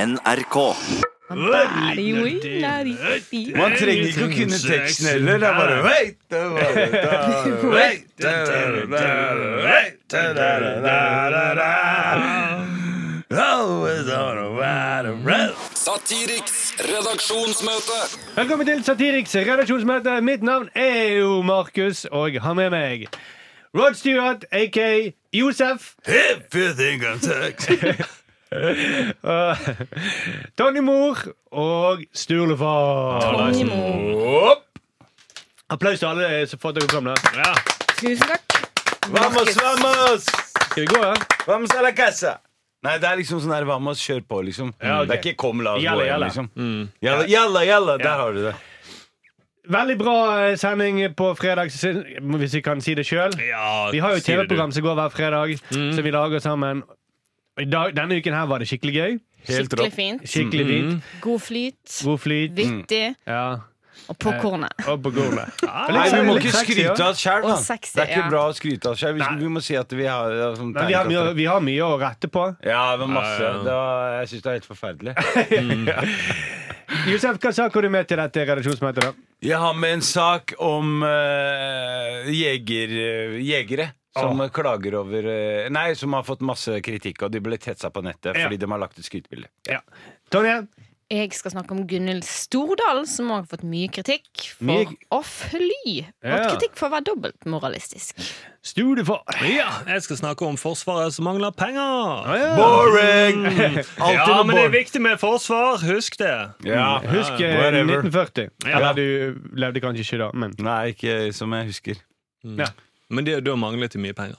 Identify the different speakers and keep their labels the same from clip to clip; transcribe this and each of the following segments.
Speaker 1: NRK.
Speaker 2: Man trenger ikke å kunne teksten heller. Det er bare wait, det er bare, det er bare, wait, det er bare, det er bare, wait, det er bare, det er bare, det er bare. Always on a ride and roll.
Speaker 3: Satiriks redaksjonsmøte.
Speaker 4: Velkommen til Satiriks redaksjonsmøte. Mitt navn er jo Markus, og jeg har med meg Rod Stewart, AK Josef,
Speaker 2: If you think I'm sexy.
Speaker 4: uh, Tony Moor og Sturlefar.
Speaker 5: Nimo.
Speaker 2: Opp.
Speaker 4: Applaus til alle som for at dere kom. da
Speaker 5: Tusen takk.
Speaker 2: Vamos, vamos!
Speaker 4: Skal vi gå, da?
Speaker 2: Vamos a la casa! Nei, det er liksom sånn her Vamos, kjør på, liksom.
Speaker 4: Ja, ok.
Speaker 2: Det er ikke kom, la oss
Speaker 4: Jalla,
Speaker 2: gå hjem,
Speaker 4: jalla.
Speaker 2: liksom. Jalla, jalla, jalla, der har du det.
Speaker 4: Veldig bra eh, sending på fredag, hvis vi kan si det sjøl. Vi har jo et TV-program som går hver fredag,
Speaker 2: Mm.
Speaker 4: som vi lager sammen. Og i dag, denne uken her var det skikkelig gøy.
Speaker 2: Helt
Speaker 5: Skikkelig
Speaker 2: rått. Mm.
Speaker 5: fint.
Speaker 4: Skikkelig fint.
Speaker 5: God flyt.
Speaker 4: God Mm. Eh. flyt.
Speaker 5: Vittig.
Speaker 4: Ja.
Speaker 5: Og på kornet.
Speaker 4: Og på gulvet.
Speaker 2: Nei, vi må ikke
Speaker 4: Litt sexy, ja.
Speaker 2: skryte av oss sjøl, da.
Speaker 5: Og sexy,
Speaker 2: Det er ikke
Speaker 5: ja.
Speaker 2: bra å skryte av oss sjøl. Vi må si at vi har ja, sånn
Speaker 4: Men vi har, mye,
Speaker 2: tegnekastere.
Speaker 4: vi har mye å rette på.
Speaker 2: Ja, det var masse. Det var, jeg syns det er helt forferdelig.
Speaker 4: Josef, hva sak har du med til dette redaksjonsmøtet? da?
Speaker 2: Jeg har med en sak om eh, jeger, eh, jegere. Som klager over eh, Nei, som har fått masse kritikk, og de ble tetsa på nettet
Speaker 4: Ja.
Speaker 2: fordi de har lagt ut skrytebilde.
Speaker 4: Ja. Tonje,
Speaker 5: Jeg skal snakke om Gunhild Stordal, som òg har fått mye kritikk for
Speaker 4: Mye-
Speaker 5: å fly.
Speaker 4: Ja.
Speaker 5: Og kritikk for å være dobbeltmoralistisk.
Speaker 4: sto du for?
Speaker 6: Ja, jeg skal snakke om Forsvaret som mangler penger.
Speaker 2: Boring!
Speaker 6: Ja,
Speaker 2: Alltid
Speaker 6: men det
Speaker 2: noe
Speaker 6: er
Speaker 2: boring.
Speaker 6: viktig med forsvar. Husk det.
Speaker 2: Ja.
Speaker 4: Husk eh,
Speaker 2: Whatever.
Speaker 4: 1940.
Speaker 6: Ja.
Speaker 4: Eller du levde kanskje ikke da, men
Speaker 2: Nei, ikke som jeg husker.
Speaker 4: ja.
Speaker 6: Mm. Men de- da manglet de mye penger.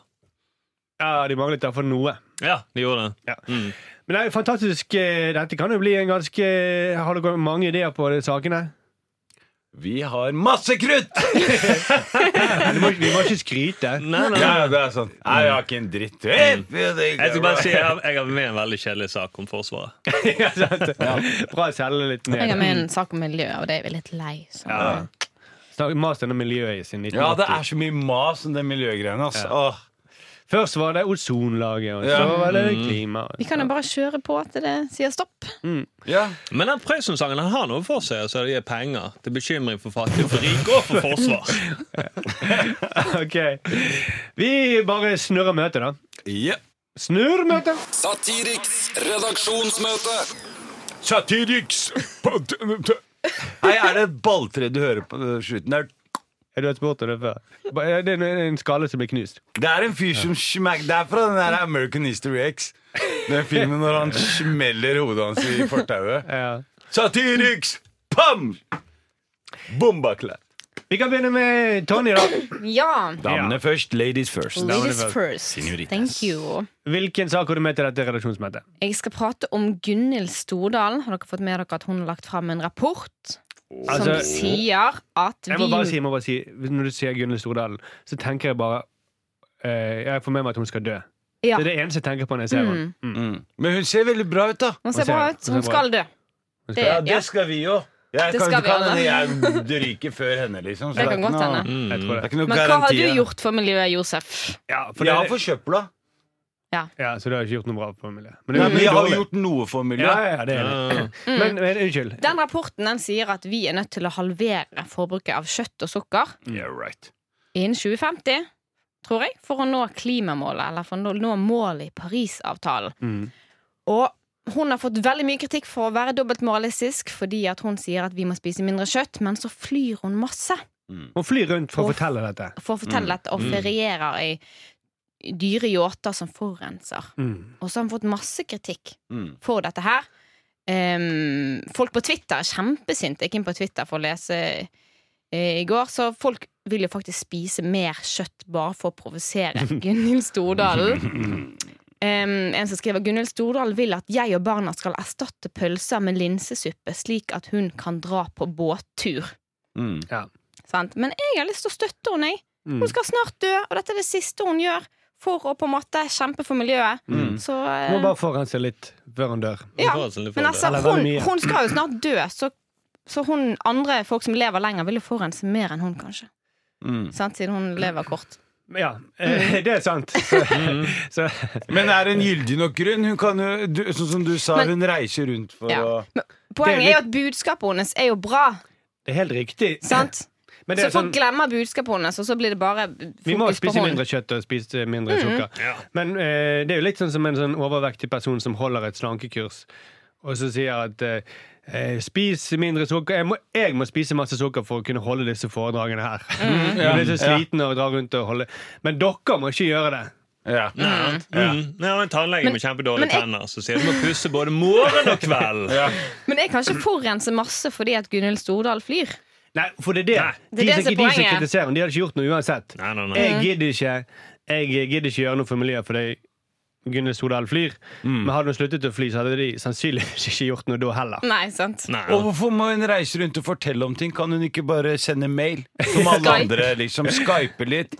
Speaker 4: ja, de manglet derfor noe.
Speaker 6: Ja, de gjorde det. Mm.
Speaker 4: Men det er jo fantastisk. eh, Dette kan jo bli en ganske Har dere mange ideer på de sakene?
Speaker 2: Vi har masse krutt!
Speaker 4: Men du må, ikke- vi må ikke skryte.
Speaker 6: Nei, nei, nei.
Speaker 2: Ja, det er sant. Nei, jeg har ikke en dritt. Jeg
Speaker 6: Jeg skal bare si jeg har, jeg har med en veldig kjedelig sak om Forsvaret.
Speaker 4: Ja, sant? Bra å selge litt
Speaker 5: Jeg har
Speaker 4: ned.
Speaker 5: med en sak om miljø, og det er vi litt lei. Så.
Speaker 4: Snakk- Mas om miljøet i sin
Speaker 2: Ja, det
Speaker 4: 1980.
Speaker 2: er så mye mas om det miljøgreiene. Altså. Åh.
Speaker 4: Først var det ozonlaget, og så
Speaker 2: Ja. Mm.
Speaker 4: var det klima. og
Speaker 5: Vi kan jo bare kjøre på til det sier stopp.
Speaker 2: Ja.
Speaker 6: Men den Prøysen-sangen han har noe for seg, så det gir penger. Til bekymring for fattige, for rike og for forsvar.
Speaker 4: Ok Vi bare snurrer møtet da
Speaker 2: Ja.
Speaker 4: Snurr møtet
Speaker 3: Satiriks redaksjonsmøte.
Speaker 2: Satiriks Nei, er det et balltre du hører på øh, slutten der?
Speaker 4: Er du et sport om det før? Ba- ja, Det er en- en skalle som blir knust
Speaker 2: Det er en fyr som smack Det er fra den der American History X. Den filmen når han smeller hodet hans i fortauet.
Speaker 4: ja.
Speaker 2: Satiriks pam! Bombaklatt.
Speaker 4: Vi kan begynne med Tony da
Speaker 5: Ja.
Speaker 2: Damene først, ladies first.
Speaker 5: Ladies first. Thank you.
Speaker 4: Hvilken sak har du med til dette redaksjonsmøtet?
Speaker 5: Jeg skal prate om Gunhild Stordal. Har dere fått med dere at hun har lagt fram en rapport som
Speaker 4: Altså,
Speaker 5: sier at
Speaker 4: Jeg må bare si,
Speaker 5: vi
Speaker 4: jeg må bare si Når du sier Gunnel Stordalen Så tenker jeg bare eh, Jeg får med meg at hun skal dø
Speaker 5: Ja.
Speaker 4: Det er det eneste jeg tenker på når jeg ser henne mm.
Speaker 2: Mm. Men hun ser veldig bra ut, da.
Speaker 5: Hun
Speaker 4: Hva
Speaker 5: ser
Speaker 4: sier
Speaker 5: bra
Speaker 4: jeg?
Speaker 5: ut.
Speaker 4: Hun
Speaker 5: Hun
Speaker 4: ser bra
Speaker 5: skal dø. Det,
Speaker 2: Ja,
Speaker 5: ja,
Speaker 2: det skal vi jo. Jeg
Speaker 5: Det
Speaker 2: kan
Speaker 5: skal vi
Speaker 2: ikke
Speaker 5: alle.
Speaker 2: hende jeg ryker før henne, liksom. så
Speaker 5: det
Speaker 2: er
Speaker 5: kan
Speaker 2: ikke
Speaker 5: godt
Speaker 2: noe-
Speaker 5: hende.
Speaker 6: Mm.
Speaker 4: Jeg tror
Speaker 2: Det er
Speaker 4: det
Speaker 2: ikke noe
Speaker 5: Men hva har du
Speaker 2: garanti, ja.
Speaker 5: gjort for miljøet, Josef?
Speaker 4: Ja, for
Speaker 2: Jeg har
Speaker 4: det,
Speaker 2: forsøpla.
Speaker 4: ja så du har ikke gjort noe bra på miljøet Men det
Speaker 2: Men
Speaker 4: er
Speaker 2: Mm, jeg har
Speaker 4: dårlig.
Speaker 2: gjort noe for
Speaker 4: ja,
Speaker 2: miljøet.
Speaker 4: ja, ja, det er det
Speaker 6: Ja.
Speaker 4: men, men unnskyld
Speaker 5: Mm. Den rapporten den sier at vi er nødt til å halvere forbruket av kjøtt og sukker
Speaker 2: Yeah, right.
Speaker 5: innen 2050, tror jeg, for å nå klimamålet, eller for å nå målet i Parisavtalen.
Speaker 4: Mm.
Speaker 5: Og hun har fått veldig mye kritikk for å være dobbeltmoralistisk, fordi at hun sier at vi må spise mindre kjøtt, men så flyr hun masse
Speaker 4: Hun flyr rundt for å
Speaker 5: Uff.
Speaker 4: fortelle dette
Speaker 5: for å fortelle dette, og ferierer i dyre yachter som forurenser.
Speaker 4: mm.
Speaker 5: Og så har hun fått masse kritikk
Speaker 2: Mm.
Speaker 5: for dette her. Ehm, folk på Twitter er kjempesinte. Jeg gikk inn på Twitter for å lese eh, i går, så folk vil jo faktisk spise mer kjøtt bare for å provosere Gunhild Stordalen. Ehm, en som skriver Gunhild Stordalen vil at jeg og barna skal erstatte pølser med linsesuppe, slik at hun kan dra på båttur.
Speaker 2: Mm.
Speaker 5: Sant? Men jeg har lyst til å støtte henne. Jeg.
Speaker 4: Mm.
Speaker 5: Hun skal snart dø, og dette er det siste hun gjør for å på en måte kjempe for miljøet.
Speaker 2: Mm.
Speaker 5: Så
Speaker 4: Må
Speaker 5: eh,
Speaker 4: bare forurense litt før hun dør.
Speaker 5: Ja,
Speaker 6: Det var altså litt
Speaker 5: Men
Speaker 6: for
Speaker 5: altså,
Speaker 4: Eller veldig
Speaker 5: hun,
Speaker 4: mye.
Speaker 5: hun skal jo snart dø, så, så hun, andre folk som lever lenger, vil jo forurense mer enn hun, kanskje.
Speaker 2: Mm.
Speaker 5: Sant? Siden hun lever kort.
Speaker 4: Ja, eh, det er sant. Så, så,
Speaker 2: Men er det en gyldig nok grunn? Hun kan jo, du, sånn som du sa,
Speaker 5: Men-
Speaker 2: hun reiser rundt for
Speaker 5: Ja.
Speaker 2: å
Speaker 5: Men
Speaker 4: Det
Speaker 5: poenget
Speaker 4: er
Speaker 5: er jo at budskapet hennes er jo bra.
Speaker 4: det er helt riktig.
Speaker 5: Sant?
Speaker 4: Men det
Speaker 5: Så
Speaker 4: er
Speaker 5: folk
Speaker 4: sånn,
Speaker 5: glemmer budskapet hennes, og så blir det bare
Speaker 4: vi må
Speaker 5: fokus på Mhm.
Speaker 4: spise mindre
Speaker 5: hånden.
Speaker 4: kjøtt og spise mindre sukker. Men eh, det er jo litt sånn som en sånn overvektig person som holder et slankekurs, og så sier at eh, eh, Spis mindre sukker. Jeg må, jeg må spise masse sukker for å kunne holde disse foredragene her.
Speaker 5: Mhm.
Speaker 4: Jeg blir så sliten av å dra rundt og holde Men dere må ikke gjøre det.
Speaker 2: ja.
Speaker 6: Mm. Nei, en tannlege med
Speaker 5: men
Speaker 6: kjempedårlige
Speaker 5: jeg-
Speaker 6: tenner som sier du må pusse både morgen og kveld.
Speaker 5: Men jeg kan ikke forurense masse fordi at Gunhild Stordal flyr.
Speaker 4: Nei, for det er det.
Speaker 5: Det er det
Speaker 4: de
Speaker 5: som
Speaker 4: som,
Speaker 5: er
Speaker 4: de som
Speaker 5: poenget.
Speaker 4: kritiserer henne, de hadde ikke gjort noe uansett.
Speaker 6: Nei, nei, nei.
Speaker 4: Jeg gidder ikke Jeg gidder ikke gjøre noe for miljøet fordi Gunhild Stordal flyr. Men hadde hun sluttet å fly, så hadde de sannsynligvis ikke gjort noe da heller.
Speaker 5: Nei, sant?
Speaker 6: Nei.
Speaker 2: Og hvorfor må hun reise rundt og fortelle om ting? Kan hun ikke bare sende mail? Som alle
Speaker 5: Skype.
Speaker 2: andre, liksom. Skype litt.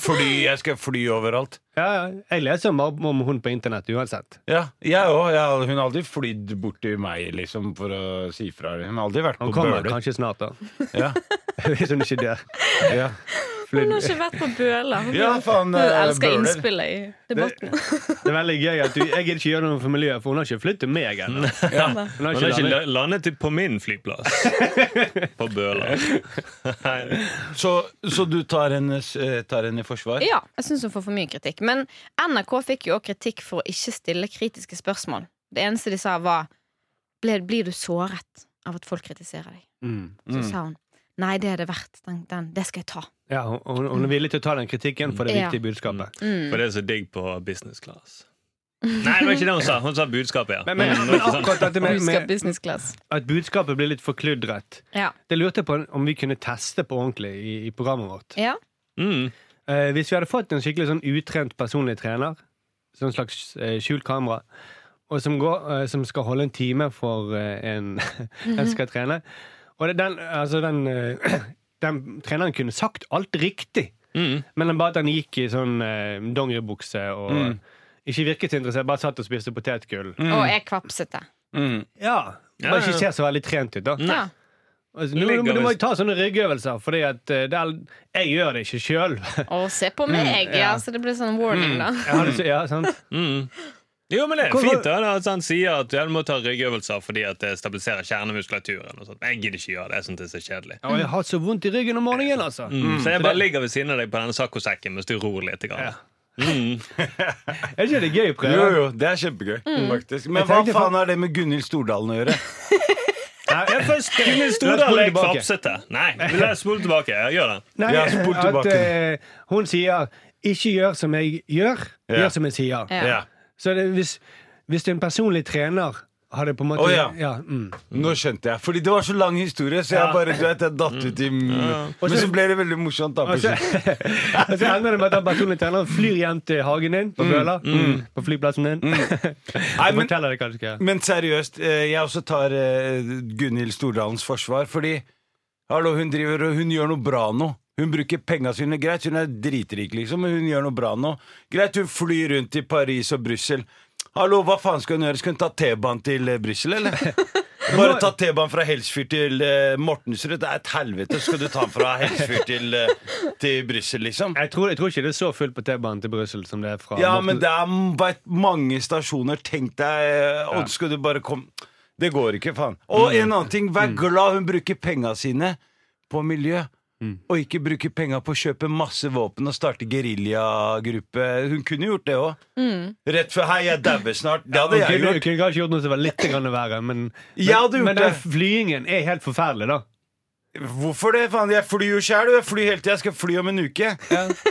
Speaker 2: Fordi jeg skal fly overalt.
Speaker 4: Ja, ja. jeg leser om, om hun på internett uansett.
Speaker 2: Ja, jeg òg. Jeg- Hun har aldri flydd bort til meg liksom, for å si fra. Hun har aldri vært
Speaker 4: Hun
Speaker 2: på
Speaker 4: kommer
Speaker 2: Bøler.
Speaker 4: kanskje snart, da.
Speaker 2: Ja,
Speaker 4: Hvis hun ikke dør.
Speaker 2: ja.
Speaker 5: Hun har ikke vært på Bøler. Hun
Speaker 2: Ja, faen,
Speaker 5: hun
Speaker 2: eh,
Speaker 5: elsker
Speaker 2: Bøler.
Speaker 5: innspillet i debatten.
Speaker 4: Det er veldig gøy at du, Jeg gidder ikke gjøre noe for miljøet, for hun har ikke flyttet til meg ennå.
Speaker 2: Ja.
Speaker 4: Hun har
Speaker 6: Han har
Speaker 4: ikke
Speaker 6: ikke
Speaker 4: landet-
Speaker 6: la- landet til- på min flyplass. På Bøler.
Speaker 2: Så, så du tar henne, eh, tar henne i forsvar?
Speaker 5: Ja, jeg syns hun får for mye kritikk. Men NRK fikk jo også kritikk for å ikke stille kritiske spørsmål. Det eneste de sa, var «Ble- Blir du såret av at folk kritiserer deg?
Speaker 4: Mm.
Speaker 5: Så sa hun Nei, det er det verdt. Den, den, det skal jeg ta.
Speaker 4: Ja, hun, hun- hun er villig til å ta den kritikken for det
Speaker 5: Ja.
Speaker 4: viktige budskapet.
Speaker 5: Mm.
Speaker 6: For det er så digg på business class. Nei, det var ikke det hun sa. Hun sa budskapet, ja.
Speaker 4: Men, men,
Speaker 6: Mm, det var
Speaker 4: men
Speaker 6: ikke sant.
Speaker 4: akkurat dette med,
Speaker 5: Husker
Speaker 4: med
Speaker 5: business class.
Speaker 4: at budskapet blir litt forkludret,
Speaker 5: Ja.
Speaker 4: det lurte jeg på om vi kunne teste på ordentlig i, i programmet vårt.
Speaker 5: ja.
Speaker 6: Mm.
Speaker 4: Eh, hvis vi hadde fått en skikkelig sånn utrent personlig trener, sånn slags eh, skjult kamera, og som, går, eh, som skal holde en time for eh, en en som skal trene Og det, den, altså den, eh, den treneren kunne sagt alt riktig,
Speaker 6: Mm.
Speaker 4: men den, bare at han gikk i sånn eh, dongeribukse og
Speaker 6: Mm.
Speaker 4: ikke virket så interessert, bare satt og spiste potetgull.
Speaker 5: Og jeg kvapset det.
Speaker 2: Mm.
Speaker 4: Ja,
Speaker 6: Ja,
Speaker 4: Bare ikke
Speaker 6: Mm. ja, ja.
Speaker 4: ser så veldig trent ut, da.
Speaker 5: Ja.
Speaker 4: Altså, nå,
Speaker 6: Ligger
Speaker 4: må- du må
Speaker 6: visst-
Speaker 4: ta sånne ryggøvelser, for jeg gjør det ikke sjøl.
Speaker 5: Og se på meg!
Speaker 4: ja.
Speaker 5: ja. Så det ble sånn warning, da.
Speaker 4: ja, sant?
Speaker 6: Mm. Jo, men det er fint da, da, at han sier at ja, du må ta ryggøvelser fordi at det stabiliserer kjernemuskulaturen. Og sånt. Jeg gidder ikke gjøre det. Jeg synes det er så kjedelig.
Speaker 4: Ja, og jeg har så vondt i ryggen om morgenen, altså.
Speaker 6: Mm. Så jeg bare ligger ved siden av deg på denne saccosekken mens du ror litt. Grann. Mm.
Speaker 4: Er ikke det gøy å prøve?
Speaker 2: Jo, jo, det er kjempegøy,
Speaker 5: Mm.
Speaker 2: faktisk. Men
Speaker 4: Jeg
Speaker 2: hva
Speaker 4: tenkte
Speaker 2: faen
Speaker 4: fa-
Speaker 2: har det med Gunhild Stordalen å gjøre?
Speaker 6: Jeg først Gunhild
Speaker 4: La oss
Speaker 6: Stordal
Speaker 4: spole
Speaker 6: er
Speaker 4: tilbake.
Speaker 6: kvapsete. Nei, la oss spole tilbake. Ja, Gjør det.
Speaker 4: Nei,
Speaker 2: Ja, spol
Speaker 4: at
Speaker 2: tilbake.
Speaker 4: eh, hun sier 'ikke gjør som jeg gjør,
Speaker 2: Ja.
Speaker 4: gjør som jeg sier'.
Speaker 5: Ja.
Speaker 4: Så det, hvis, hvis det er en personlig trener hadde på en måte
Speaker 2: Å, ja.
Speaker 4: mm.
Speaker 2: Nå skjønte jeg. Fordi det var så lang historie, så jeg bare du vet, jeg datt ut i Men så ble det veldig morsomt, da.
Speaker 4: Og så,
Speaker 2: plutselig.
Speaker 4: og så ender det med at den personlige treneren flyr hjem til hagen din på Bøler. mm, På flyplassen din.
Speaker 2: Nei,
Speaker 4: og
Speaker 2: men-
Speaker 4: forteller deg hva du skal gjøre.
Speaker 2: Men seriøst, eh, jeg også tar eh, Gunhild Stordalens forsvar, fordi hallo, hun driver og hun gjør noe bra nå. Hun bruker penga sine greit, hun er dritrik, liksom, men hun gjør noe bra nå. Greit, hun flyr rundt i Paris og Brussel. Hallo, hva faen skal hun gjøre? Skal hun ta T-banen til eh, Brussel, eller? Bare ta T-banen fra Helsfyr til eh, Mortensrud. Det er et helvete. Skal du ta den fra Helsfyr til, eh, til Brussel, liksom?
Speaker 4: Jeg tror, jeg tror ikke det er så fullt på T-banen til Brussel som det er fra
Speaker 2: Ja,
Speaker 4: Morten-
Speaker 2: men det er m- vært mange stasjoner. Tenk deg eh, Og skal du bare komme Det går ikke, faen. Og en annen ting. Vær glad hun bruker penga sine på miljø. Og ikke bruke penga på å kjøpe masse våpen og starte geriljagruppe. Hun kunne gjort det òg. Rett før 'hei, jeg dauer snart'. Det hadde
Speaker 4: Hun
Speaker 2: jeg
Speaker 4: kunne,
Speaker 2: gjort.
Speaker 4: kunne kanskje gjort noe som var litt grann verre, men, men,
Speaker 2: Jeg hadde gjort
Speaker 4: men den
Speaker 2: det.
Speaker 4: flyingen er helt forferdelig, da.
Speaker 2: Hvorfor det? faen? Jeg flyr jo sjæl. Jeg flyr hele tida. Jeg skal fly om en uke.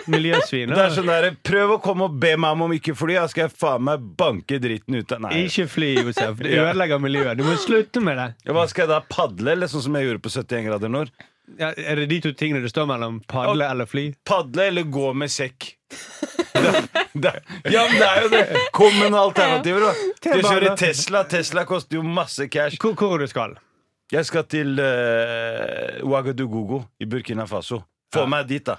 Speaker 4: Miljøsvin. altså.
Speaker 2: Det
Speaker 4: da.
Speaker 2: er sånn der, Prøv å komme og be meg om å ikke fly. Da skal jeg faen meg banke dritten ut av Nei.
Speaker 4: Ikke fly, Josef. Det ødelegger miljøet. Du må slutte med det.
Speaker 2: Hva skal jeg da padle, eller sånn som jeg gjorde på 71 grader nord?
Speaker 4: Ja, er det de to tingene du står mellom? Padle eller fly?
Speaker 2: Padle eller gå med sekk? det, det, ja, men det er jo det! Kom med noen alternativer, da. Skal jeg kjøre Tesla? Tesla koster jo masse cash.
Speaker 4: Hvor, hvor du skal?
Speaker 2: Jeg skal til uh, Ouagadougou i Burkina Faso. Få meg dit, da.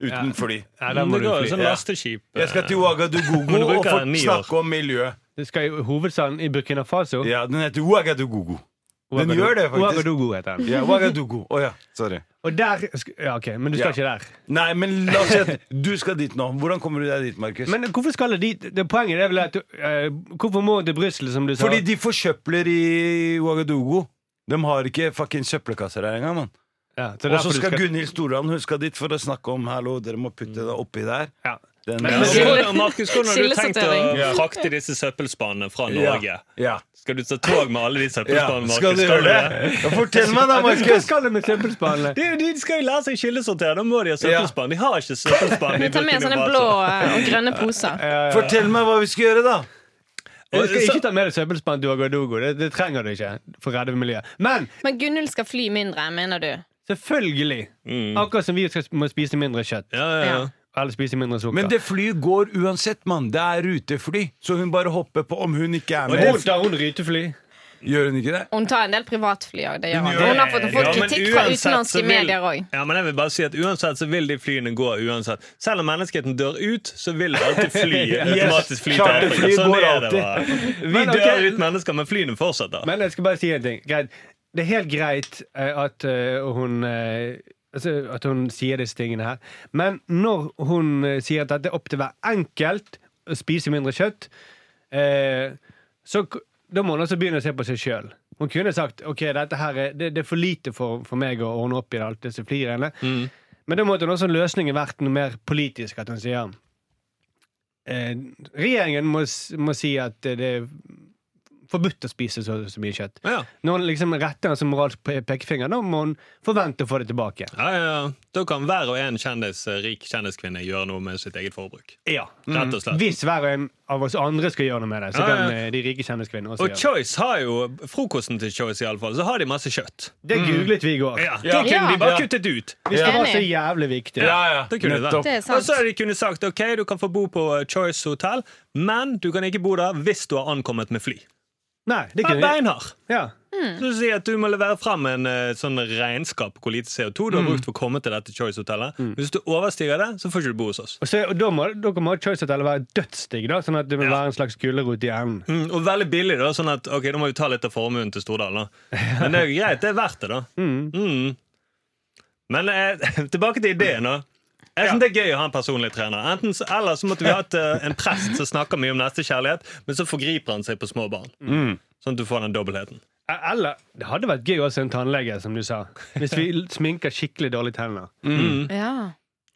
Speaker 2: Uten
Speaker 4: Ja.
Speaker 2: fly.
Speaker 4: Ja, der må
Speaker 6: Det
Speaker 4: du
Speaker 6: går jo
Speaker 4: fly.
Speaker 6: sånn
Speaker 2: ja.
Speaker 6: lasteskip.
Speaker 2: Jeg skal til
Speaker 6: Men
Speaker 2: Ouagadougou
Speaker 6: du
Speaker 2: og
Speaker 6: bruker
Speaker 2: få
Speaker 6: ni år.
Speaker 2: snakke om miljø.
Speaker 4: Du skal i hovedstaden i Burkina Faso.
Speaker 2: Ja, den heter Ouagadougou. Den gjør det, faktisk.
Speaker 4: Ouagadougou heter den.
Speaker 2: Ja, Ouagadougou. Å ja, sorry.
Speaker 4: Og der sk- Ja, OK, men du skal ikke der.
Speaker 2: Nei, men la oss si at du skal dit nå. Hvordan kommer du deg dit, Markus?
Speaker 4: Men hvorfor skal jeg dit? Det Poenget er vel at du, eh, Hvorfor må til Brussel, som du sa?
Speaker 2: Fordi de forsøpler i Ouagadougou. De har ikke fuckings søppelkasser her engang. mann.
Speaker 4: ja, så
Speaker 2: Og
Speaker 4: derfor
Speaker 2: så
Speaker 4: du
Speaker 2: skal Gunhild Stordalen hun skal dit for å snakke om hallo, dere må putte det oppi der.
Speaker 4: Ja.
Speaker 2: Den,
Speaker 6: Men
Speaker 2: Ja.
Speaker 5: Skille-
Speaker 6: hvordan, Markus, hvordan har du tenkt
Speaker 5: skillesortering.
Speaker 6: å frakte disse søppelspanene fra Norge?
Speaker 2: Ja.
Speaker 6: Skal du ta tog med alle de
Speaker 2: ja.
Speaker 6: søppelspanene? Markus?
Speaker 2: Skal du gjøre det? Ja, fortell meg da,
Speaker 4: Hva
Speaker 2: Markus.
Speaker 4: skal du med søppelspannene?
Speaker 6: De, de skal jo lære seg kildesortere. Da må de ha søppelspann. De har ikke søppelspann. i
Speaker 5: Vi tar med
Speaker 6: Burkina
Speaker 5: sånne
Speaker 6: Faso.
Speaker 5: blå eh, og grønne poser.
Speaker 2: Fortell meg hva vi skal gjøre, da.
Speaker 4: Du skal ikke ta med deg søppelspann til Ouagadougou. Det, det trenger du ikke for å redde miljøet. Men
Speaker 5: Men Gunhild skal fly mindre, mener du?
Speaker 4: selvfølgelig! Akkurat som vi skal, må spise mindre kjøtt.
Speaker 6: Ja, ja, ja.
Speaker 5: Ja.
Speaker 4: Eller spise mindre sukker.
Speaker 2: Men det flyet går uansett, mann. Det er rutefly. Så hun bare hopper på om hun ikke er
Speaker 4: Hvor
Speaker 2: med.
Speaker 4: tar hun rytefly?
Speaker 2: Gjør hun ikke det?
Speaker 5: Hun tar en del privatfly òg. Hun
Speaker 2: gjør
Speaker 5: Hun har fått, fått
Speaker 6: Ja, men
Speaker 5: kritikk fra
Speaker 6: uansett så
Speaker 5: utenlandske
Speaker 6: vil-
Speaker 5: medier òg.
Speaker 6: Ja, men jeg vil bare si at Uansett så vil de flyene gå uansett. Selv om menneskeheten dør ut, så vil det alltid fly automatisk fly til
Speaker 2: Charterfly
Speaker 6: Afrika. Sånn
Speaker 2: går
Speaker 6: er det
Speaker 2: alltid.
Speaker 6: bare. Vi
Speaker 4: Men, ok.
Speaker 6: dør ut mennesker, men flyene fortsetter.
Speaker 4: Men jeg skal bare si en ting. Greit. Det er helt greit eh, at eh, hun eh, altså, At hun sier disse tingene her. Men når hun eh, sier at det er opp til hver enkelt å spise mindre kjøtt, eh, så k- da må hun også begynne å se på seg sjøl. Hun kunne sagt ok, dette her er, det, det er for lite for, for meg å ordne opp i alt disse flyreiene. Men da måtte hun også løsningen vært noe mer politisk. At hun sier eh, Regjeringen må, s- må si at eh, det er forbudt å spise så, så mye kjøtt.
Speaker 6: Ja,
Speaker 4: Når hun liksom retter en som moralsk pe- pekefinger, da må hun forvente å få det tilbake.
Speaker 6: ja, ja, ja. Da kan hver og en kjendis, eh, rik kjendiskvinne gjøre noe med sitt eget forbruk.
Speaker 4: Ja,
Speaker 6: Rett og slett.
Speaker 4: Mm. Hvis hver og en av oss andre skal gjøre noe med det, så
Speaker 6: Ja, ja.
Speaker 4: kan eh, de rike kjendiskvinnene også
Speaker 6: Og
Speaker 4: gjøre det.
Speaker 6: Choice har jo frokosten til Choice, i alle fall, så har de masse kjøtt.
Speaker 4: Det googlet vi i går.
Speaker 6: Ja, Da kunne de bare kuttet ut.
Speaker 4: Hvis det var
Speaker 5: Enig.
Speaker 4: så jævlig viktig.
Speaker 6: Da kunne de
Speaker 2: Nettopp.
Speaker 5: Det er
Speaker 6: Og så
Speaker 5: sant.
Speaker 6: hadde de kunne sagt ok, du kan få bo på eh, Choice hotell, men du kan ikke bo der hvis du har ankommet med fly.
Speaker 4: Nei, det
Speaker 6: Det er
Speaker 4: kunne
Speaker 6: beinhard.
Speaker 4: ja.
Speaker 5: Hmm.
Speaker 6: Så si at du må levere frem en eh, sånn regnskap på hvor lite CO2
Speaker 4: Hmm.
Speaker 6: du har brukt for å komme til dette Choice-hotellet. Hvis du overstiger det, så får ikke du bo hos oss.
Speaker 4: Og, så, og da må, dere må choice-hotellet være dødsdigg, da, sånn at det må være en slags gulrot i enden.
Speaker 6: Mm, og veldig billig, da. Sånn at ok, da må vi ta litt av formuen til Stordalen. da. Men det er jo greit, det er verdt det, da. Mm. Men eh, tilbake til ideen, da. Jeg synes Det er gøy å ha en personlig trener. Enten så, eller så måtte vi hatt eh, en prest som snakker mye om nestekjærlighet, men så forgriper han seg på små barn. Sånn at du får den dobbeltheten.
Speaker 4: Eh, Eller det hadde vært gøy også en tannlege, som du sa. Hvis vi l- sminker skikkelig dårlig tenner.
Speaker 5: Ja.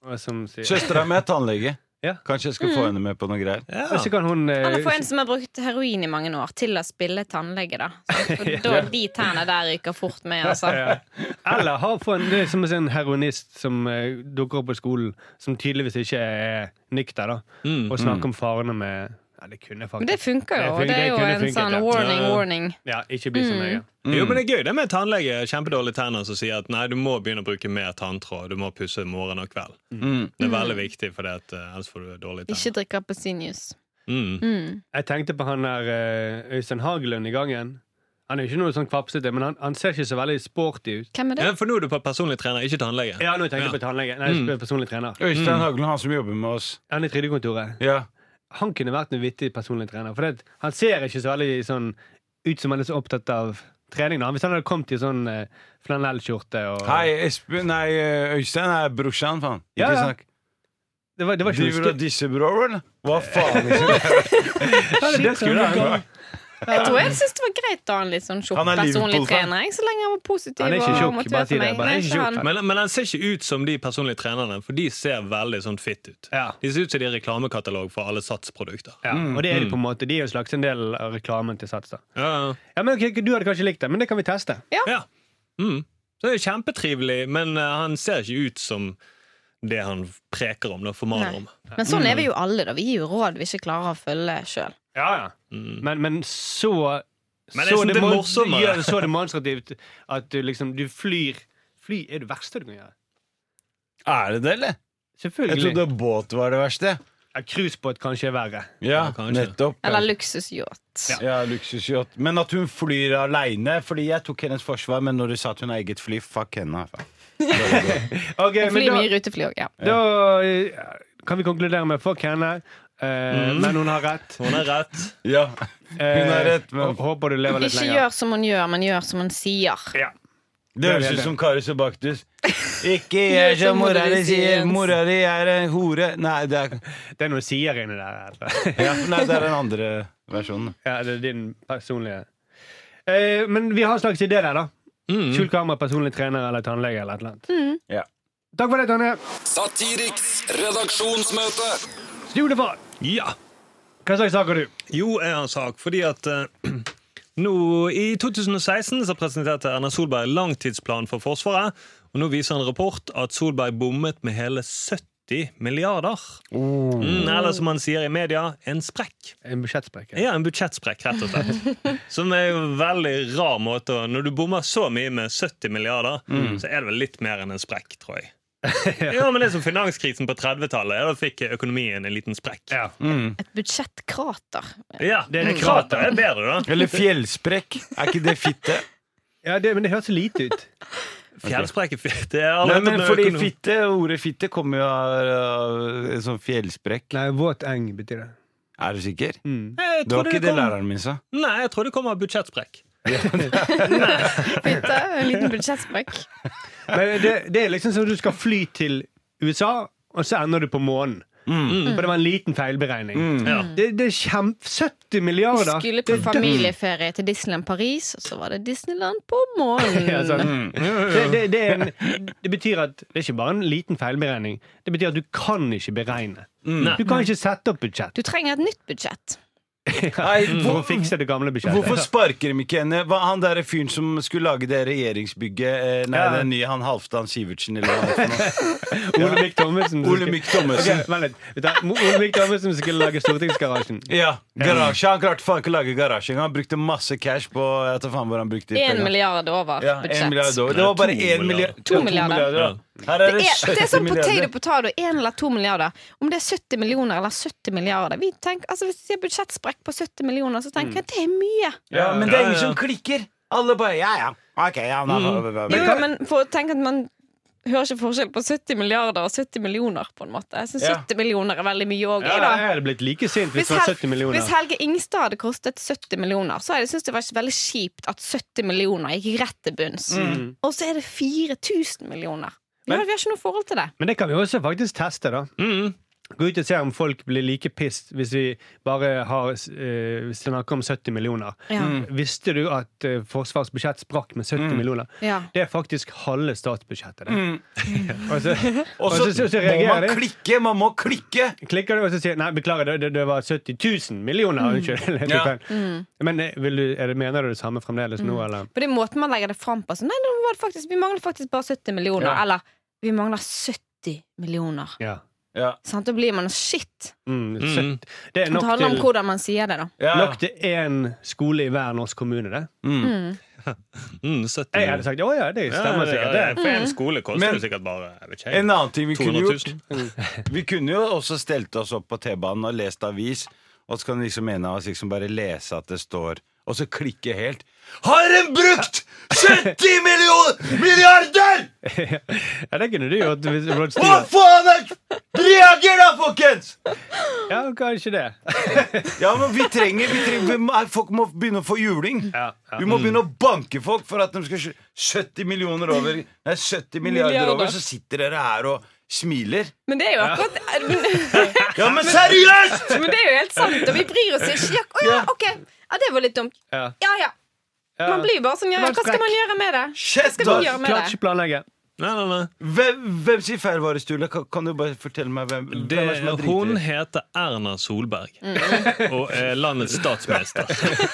Speaker 4: Og som sier,
Speaker 2: Søstera mi er tannlege.
Speaker 4: Ja.
Speaker 2: Kanskje jeg skal få henne med på noe greier.
Speaker 6: Ja.
Speaker 4: Og så kan hun eh,
Speaker 5: Eller få en som har brukt heroin i mange år, til å spille tannlege, da. Så da de tennene der ryker fort med, altså.
Speaker 4: Ja. Eller ha få en, det er som å se en heroinist som eh, dukker opp på skolen, som tydeligvis ikke er nykter, da,
Speaker 6: Mm.
Speaker 4: og snakker om farene med Ja, det kunne
Speaker 5: Men det
Speaker 4: faktisk
Speaker 5: funker
Speaker 4: Det
Speaker 5: jo.
Speaker 4: funker,
Speaker 5: Det er jo
Speaker 4: kunne
Speaker 5: en
Speaker 4: funket,
Speaker 5: sånn
Speaker 4: ja.
Speaker 5: warning, Mm.
Speaker 6: Ja, ja.
Speaker 5: warning.
Speaker 4: Ja, ikke bli så nøye.
Speaker 6: Jo, men det er gøy det med tannlege. Kjempedårlige tenner som sier at nei, du må begynne å bruke mer tanntråd. Du må pusse morgen og kveld.
Speaker 2: Mm.
Speaker 6: Det er veldig viktig, for ellers får du dårlige
Speaker 5: Ikke
Speaker 6: tenner.
Speaker 5: drikke appelsinjuice.
Speaker 6: Mm.
Speaker 5: Mm.
Speaker 4: Jeg tenkte på han der eh, Øystein Hagelund i gangen. Han er jo ikke noe sånn kvapsete, men han, han ser ikke så veldig sporty ut.
Speaker 5: Hvem er det?
Speaker 6: Ja, for nå er du på personlig trener, ikke tannlege.
Speaker 4: Ja, nå tenkte jeg på tannlege. Nei,
Speaker 6: Mm.
Speaker 4: jeg er personlig trener.
Speaker 2: Øystein Haglund, han som jobber med oss.
Speaker 4: Han i trygdekontoret.
Speaker 2: Mm. Ja.
Speaker 4: Han kunne vært en vittig personlig trener, for det, han ser ikke så veldig sånn ut som han er så opptatt av trening. Da. Hvis han hadde kommet i sånn eh, flanellskjorte og
Speaker 2: Hei, Espen Nei, eh, Øystein er brorsan, faen.
Speaker 4: Ja,
Speaker 2: Ikke
Speaker 4: ja.
Speaker 2: snakk.
Speaker 4: Det var, det var ikke
Speaker 2: Driver du og
Speaker 4: noe
Speaker 2: disser bror, eller? Hva faen? liksom?
Speaker 4: skummelt.
Speaker 5: Jeg tror jeg synes det var greit å ha en litt sånn tjukk
Speaker 2: Han er
Speaker 5: personlig
Speaker 2: Liverpool-fan.
Speaker 5: trener, jeg, så lenge han var positiv.
Speaker 4: Han er ikke
Speaker 5: og
Speaker 4: tjukk,
Speaker 5: motivert
Speaker 4: bare si det.
Speaker 5: meg.
Speaker 4: Bare
Speaker 5: Nei,
Speaker 4: han er ikke
Speaker 5: ikke han.
Speaker 6: Men, men han ser ikke ut som de personlige trenerne, for de ser veldig sånn fit ut.
Speaker 4: Ja.
Speaker 6: De ser ut som de er reklamekatalog for alle satsprodukter.
Speaker 4: Ja, og det er de på en måte. De er jo slags en del av reklamen til Sats. da.
Speaker 6: Ja.
Speaker 4: Ja, men ok, Du hadde kanskje likt det, men det kan vi teste.
Speaker 6: ja. Mm. Så det er kjempetrivelig, men eh, han ser ikke ut som det han preker om, da, formaner
Speaker 5: Nei.
Speaker 6: om.
Speaker 5: Men sånn er vi
Speaker 4: Mm.
Speaker 5: jo alle, da. Vi gir jo råd vi ikke klarer å følge sjøl.
Speaker 4: Ja, ja.
Speaker 6: Mm.
Speaker 4: Men, men så
Speaker 6: Men jeg synes det er
Speaker 4: demon-
Speaker 6: morsommere.
Speaker 4: gjør det så demonstrativt at du liksom du flyr. Fly er det verste du kan gjøre.
Speaker 2: Er det det, eller? Jeg
Speaker 4: Selvfølgelig.
Speaker 2: trodde båt var det verste.
Speaker 4: Ja, Cruisebåt kanskje er verre.
Speaker 2: Ja,
Speaker 6: Ja, kanskje.
Speaker 2: nettopp.
Speaker 5: Eller luksusyacht.
Speaker 2: Ja, luksusyacht. Men at hun flyr aleine. Fordi jeg tok hennes forsvar, men når du sa at hun har eget fly, fuck henne. faen.
Speaker 5: Fly
Speaker 4: Ok, men da,
Speaker 5: mye rutefly òg, ja.
Speaker 4: da eh, kan vi konkludere med fuck henne. eh, Men hun har rett.
Speaker 6: Hun har rett.
Speaker 2: Ja, hun har
Speaker 4: Eh,
Speaker 2: rett, men
Speaker 4: og Håper du lever litt
Speaker 5: Ikke
Speaker 4: lenger.
Speaker 5: gjør som hun gjør, men gjør som hun sier.
Speaker 4: Ja.
Speaker 2: Det høres ut som Kari Sebaktus. Ikke gjør som mora di sier! Mora di er en hore! Nei, det er,
Speaker 4: Det er noe sier inni der. altså.
Speaker 2: ja, nei, det er den andre versjonen.
Speaker 4: Ja, det er din personlige eh, Men vi har en slags idé der, da.
Speaker 6: Mm.
Speaker 4: Skjult kamera, personlig trener eller tannlege eller et eller annet.
Speaker 2: Ja.
Speaker 4: Takk for det, Tonje.
Speaker 3: Satiriks redaksjonsmøte.
Speaker 4: Julefar,
Speaker 6: Ja.
Speaker 4: hva slags sak har du?
Speaker 6: Jo, jeg har en sak, fordi at eh, nå I 2016 så presenterte Erna Solberg langtidsplan for Forsvaret. Og nå viser en rapport at Solberg bommet med hele 70 milliarder.
Speaker 4: Oh.
Speaker 6: Mm, eller som man sier i media, en sprekk.
Speaker 4: En budsjettsprekk.
Speaker 6: Ja, en budsjettsprekk, rett og slett. Som er jo en veldig rar måte å Når du bommer så mye med 70 milliarder,
Speaker 4: Mm.
Speaker 6: så er det vel litt mer enn en sprekk, tror jeg. Ja, men det er som finanskrisen på 30-tallet. Da fikk økonomien en liten sprekk.
Speaker 4: Ja.
Speaker 5: Et budsjettkrater.
Speaker 6: Ja,
Speaker 4: Det er det
Speaker 6: krater er bedre, da.
Speaker 2: Eller fjellsprekk. Er ikke det fitte?
Speaker 4: Ja, det, men det høres så lite ut.
Speaker 6: Fjellsprekk er fint. Det er
Speaker 2: Nei,
Speaker 6: allerede
Speaker 2: men
Speaker 6: noe
Speaker 2: fordi
Speaker 6: økonom-
Speaker 2: fitte, Ordet fitte kommer jo av, av en sånn fjellsprekk.
Speaker 4: Nei, våt eng betyr det.
Speaker 2: Er du sikker?
Speaker 6: Jeg
Speaker 2: Det
Speaker 6: tror
Speaker 2: var
Speaker 6: det
Speaker 2: ikke Mm. det
Speaker 6: kom-
Speaker 2: læreren min sa.
Speaker 6: Nei, jeg tror det kommer av budsjettsprekk.
Speaker 5: Fitte, en liten budsjettsprekk.
Speaker 4: Men det, det er liksom som du skal fly til USA, og så ender du på månen. For det var en liten feilberegning.
Speaker 2: Mm.
Speaker 6: Ja.
Speaker 4: Det, det er kjempe... 70 milliarder!
Speaker 5: Skulle på familieferie til Disneyland Paris, og så var det Disneyland på månen.
Speaker 4: Mm. Ja, sant. det, det, det, er en, det betyr at det er ikke bare en liten feilberegning. Det betyr at du kan ikke beregne.
Speaker 6: Nei.
Speaker 4: Du kan ikke sette opp budsjett
Speaker 5: Du trenger et nytt budsjett.
Speaker 2: Nei,
Speaker 4: for å fikse det gamle budsjettet.
Speaker 2: Hvorfor sparker de ikke henne? Hva, han der fyren som skulle lage det regjeringsbygget eh, Nei,
Speaker 4: Ja.
Speaker 2: den nye, han Halvdan Sivertsen eller hva det er for noe.
Speaker 4: Olemic Thommessen.
Speaker 2: Olemic Thommessen.
Speaker 4: Ok, vent litt. Vet du, Mo- Olemic Thommessen skulle lage Stortingsgarasjen.
Speaker 2: Ja, garasje. Han klarte faen ikke å lage garasje engang. Han brukte masse cash på Jeg tar faen hvor han brukte de
Speaker 5: Én
Speaker 2: pengene.
Speaker 5: milliard over
Speaker 2: Ja, en milliard
Speaker 5: budsjett.
Speaker 2: dollar. Det var bare én
Speaker 6: To
Speaker 2: milliard.
Speaker 6: milliarder.
Speaker 5: To milliarder.
Speaker 2: ja. Her er
Speaker 5: Det
Speaker 2: det
Speaker 5: er, det er
Speaker 2: 70
Speaker 5: sånn potato
Speaker 2: milliarder.
Speaker 5: potato. Én eller to milliarder. Om det er 70 millioner eller 70 milliarder vi tenker, altså Hvis du sier budsjettsprekk på 70 millioner, så tenker jeg det er mye.
Speaker 2: Ja, Mm. men det er
Speaker 6: Ja,
Speaker 2: ingen
Speaker 6: ja.
Speaker 2: som klikker. Alle bare ja, ja. Ok, ja, da,
Speaker 5: Jo, jo, men for å tenke at man hører ikke forskjell på 70 milliarder og 70 millioner, på en måte. Jeg syns
Speaker 2: Ja.
Speaker 5: 70 millioner er veldig mye òg,
Speaker 4: Ja,
Speaker 5: jeg, da.
Speaker 4: jeg hadde blitt like sint hvis
Speaker 5: Hvis,
Speaker 4: det var
Speaker 5: Hel
Speaker 4: 70 millioner.
Speaker 5: hvis Helge Ingstad hadde kostet 70 millioner, så hadde jeg syntes det var veldig kjipt at 70 millioner gikk rett til bunns.
Speaker 4: Mm.
Speaker 5: Og så er det 4000 millioner. Ja, vi har ikke noe forhold til det.
Speaker 4: Men det kan vi også faktisk teste, da.
Speaker 6: Mm.
Speaker 4: Gå ut og se om folk blir like pissed hvis vi bare har, eh, snakker om 70 millioner.
Speaker 5: Ja.
Speaker 6: Mm.
Speaker 4: Visste du at eh, Forsvars budsjett sprakk med 70 millioner?
Speaker 5: Ja.
Speaker 4: Det er faktisk halve statsbudsjettet. det.
Speaker 6: Mm.
Speaker 4: Og så,
Speaker 2: Og så
Speaker 4: så- så- så
Speaker 2: må
Speaker 4: reagerer
Speaker 2: man
Speaker 4: de.
Speaker 2: klikke! Man må klikke!
Speaker 4: klikker du og så sier Nei, beklager, det, det, det var 70 000 millioner.
Speaker 5: Mm.
Speaker 4: Unnskyld. jeg tok
Speaker 2: Ja.
Speaker 4: feil. Men eh, vil du, er det, mener du det samme fremdeles nå, eller?
Speaker 5: På den måten man legger det fram på. Så nei, nå var det faktisk, vi mangler faktisk bare 70 millioner.
Speaker 4: Ja.
Speaker 5: Eller vi mangler 70 millioner.
Speaker 4: Ja.
Speaker 2: Ja.
Speaker 5: Sant? Da blir man shit.
Speaker 4: Mm,
Speaker 6: Mm.
Speaker 4: 70. Det er
Speaker 5: Det
Speaker 4: nok
Speaker 5: handler om
Speaker 4: til,
Speaker 5: hvordan man sier det, da.
Speaker 2: Ja. Mm.
Speaker 4: nok til Mm. én skole i hver norsk kommune, det.
Speaker 5: Mm.
Speaker 6: Mm, 70
Speaker 4: Jeg hadde sagt å ja, det stemmer
Speaker 6: ja,
Speaker 4: sikkert.
Speaker 6: ja,
Speaker 4: Det.
Speaker 6: For en skole koster
Speaker 2: Men-
Speaker 6: det sikkert bare jeg vet ikke, jeg.
Speaker 2: En annen ting vi kunne
Speaker 6: 200
Speaker 2: gjort
Speaker 6: 000.
Speaker 4: Mm.
Speaker 2: Vi kunne jo også stelt oss opp på T-banen og lest avis, og så kan liksom en av oss liksom bare lese at det står og så klikke helt. Har en brukt 70 millioner milliarder?!
Speaker 4: Ja, det kunne du gjort. Hvis, du ble
Speaker 2: Hva
Speaker 4: styrer.
Speaker 2: faen er Reager da, folkens!
Speaker 4: ja, kanskje det.
Speaker 2: Ja, men vi trenger, vi trenger vi må, Folk må begynne å få juling.
Speaker 4: Ja, ja.
Speaker 2: Vi må begynne å banke folk for at de skal skj- 70 millioner over Nei, 70 milliarder
Speaker 5: Milliarder.
Speaker 2: over, så sitter dere her og smiler.
Speaker 5: Men det er jo akkurat men,
Speaker 2: Ja, men seriøst!
Speaker 5: men det er jo helt sant, og vi bryr oss ikke. Ja, Å ja, ok. Ja, det var litt dumt.
Speaker 4: Ja.
Speaker 5: Ja ja.
Speaker 4: Ja.
Speaker 5: Man blir jo bare sånn ja,
Speaker 4: Det var
Speaker 5: Hva skal
Speaker 4: skrekk.
Speaker 5: man gjøre med det?
Speaker 2: Shit,
Speaker 5: Skal
Speaker 2: da.
Speaker 5: vi gjøre med
Speaker 4: Klart
Speaker 5: det?
Speaker 4: ikke planlegge.
Speaker 6: Nei, nei, nei.
Speaker 2: Hvem, hvem sier feilvarestule? Kan, kan du bare fortelle meg hvem, hvem
Speaker 6: Det,
Speaker 2: er det som har driti?
Speaker 6: hun heter Erna Solberg
Speaker 5: Mm.
Speaker 6: og er landets statsminister. det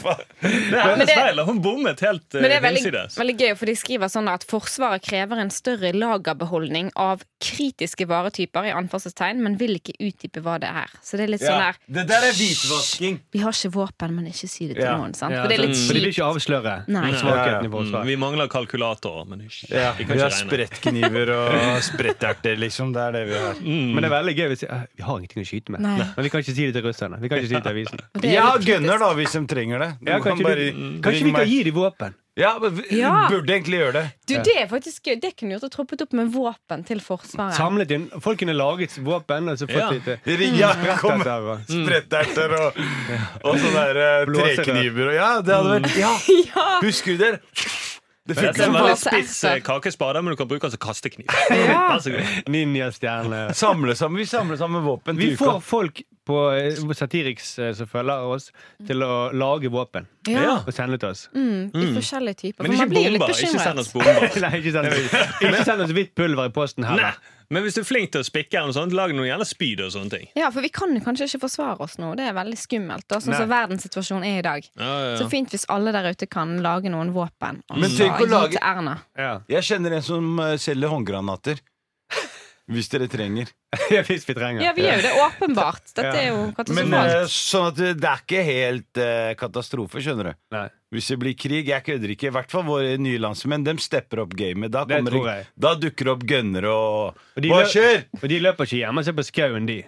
Speaker 6: er
Speaker 5: Men
Speaker 6: hennes
Speaker 5: det-
Speaker 6: feil. da. Hun bommet helt eh,
Speaker 5: Men det er veldig,
Speaker 6: hinsides.
Speaker 5: veldig gøy, for de skriver sånn da at Forsvaret krever en større lagerbeholdning av kritiske varetyper, i anførselstegn, men vil ikke utdype hva det er. Så det er litt sånn
Speaker 2: Ja.
Speaker 5: der
Speaker 2: Det der er hvitvasking.
Speaker 5: Vi har ikke våpen, men ikke si det til
Speaker 2: Ja.
Speaker 5: noen. sant?
Speaker 4: Ja, altså, sånn-
Speaker 5: For det er litt
Speaker 4: for de vil
Speaker 5: kjipt.
Speaker 4: ikke avsløre
Speaker 5: Nei.
Speaker 4: svakheten i
Speaker 6: Mm,
Speaker 4: Forsvaret.
Speaker 6: vi mangler kalkulatorer, men hysj.
Speaker 2: Ja,
Speaker 6: vi
Speaker 2: vi
Speaker 6: kan
Speaker 2: har
Speaker 6: ikke regne.
Speaker 2: sprettkniver og spretterter, liksom. Det er det vi har.
Speaker 6: Mm.
Speaker 4: Men det er veldig gøy hvis eh, Vi har ingenting å skyte med.
Speaker 5: Nei.
Speaker 4: Men vi kan ikke si det til russerne. Vi kan ikke si det til avisen.
Speaker 5: Og det er
Speaker 2: Jeg har
Speaker 5: litt kritisk.
Speaker 2: gunner, da, hvis de trenger det. Du
Speaker 4: Ja,
Speaker 2: kan
Speaker 4: kanskje,
Speaker 2: bare
Speaker 4: du,
Speaker 2: ringe
Speaker 4: kanskje vi kan
Speaker 2: meg.
Speaker 4: gi dem våpen?
Speaker 2: Ja, men vi
Speaker 5: Ja.
Speaker 2: burde egentlig gjøre det.
Speaker 5: Du, det er faktisk gøy. Det kunne gjort å troppet opp med våpen til Forsvaret.
Speaker 4: Samlet inn Folk kunne laget våpen og så fått
Speaker 6: Ja.
Speaker 4: litt eh,
Speaker 2: Ringe kom
Speaker 4: dette her, og-
Speaker 2: spretterter Mm. og, og sånne der, eh,
Speaker 4: Blåser.
Speaker 2: trekniver og Ja, det hadde vært ja. Husker du det? Det
Speaker 6: Dette
Speaker 2: funker
Speaker 6: er en
Speaker 2: som
Speaker 5: bare
Speaker 6: veldig
Speaker 5: så
Speaker 6: spiss
Speaker 5: etter.
Speaker 6: eh, kakespade, men du kan bruke den som kastekniv.
Speaker 5: altså, Ja.
Speaker 6: Vær så god.
Speaker 4: Ninjastjerne.
Speaker 2: samle sammen, Vi samler sammen våpen til
Speaker 4: Vi får folk på eh, Satiriks eh, som følger oss, til å lage våpen
Speaker 5: Ja.
Speaker 4: og sende til oss.
Speaker 5: Mm, I forskjellige typer.
Speaker 6: Men
Speaker 5: For
Speaker 6: ikke
Speaker 5: man blir jo litt
Speaker 6: bomber. Ikke send oss
Speaker 5: bekymret.
Speaker 6: bomber.
Speaker 4: Nei, ikke send oss, ikke send oss hvitt pulver i posten
Speaker 6: Nei.
Speaker 4: heller.
Speaker 6: Men hvis du er flink til å spikke, eller noe sånt, lag noe gjerne spyd og sånne ting.
Speaker 5: Ja, for vi kan jo kanskje ikke forsvare oss nå. Det er veldig skummelt. da, Sånn
Speaker 4: Nei.
Speaker 5: som verdenssituasjonen er i dag. Så fint hvis alle der ute kan lage noen våpen. Og
Speaker 2: Men
Speaker 5: så
Speaker 2: tenk å
Speaker 5: gi
Speaker 2: lage-
Speaker 5: til Erna.
Speaker 4: Ja.
Speaker 2: Jeg kjenner en som eh, selger håndgranater. Hvis dere trenger.
Speaker 4: Hvis vi trenger.
Speaker 5: Ja, vi gjør jo det åpenbart. Dette
Speaker 4: Ja.
Speaker 5: er jo
Speaker 2: Men
Speaker 5: katastrofalt.
Speaker 2: eh, sånn at det det er ikke helt eh, katastrofe, skjønner du.
Speaker 4: Nei.
Speaker 2: Hvis det blir krig, jeg kødder ikke. I hvert fall våre nye landsmenn. De stepper opp gamet. Da,
Speaker 4: Det
Speaker 2: kommer
Speaker 4: tror jeg.
Speaker 2: da dukker det opp gønnere og,
Speaker 4: Og de
Speaker 2: Hva
Speaker 4: lø-
Speaker 2: skjer?
Speaker 4: Og de løper ikke hjemme og ser på skauen, de.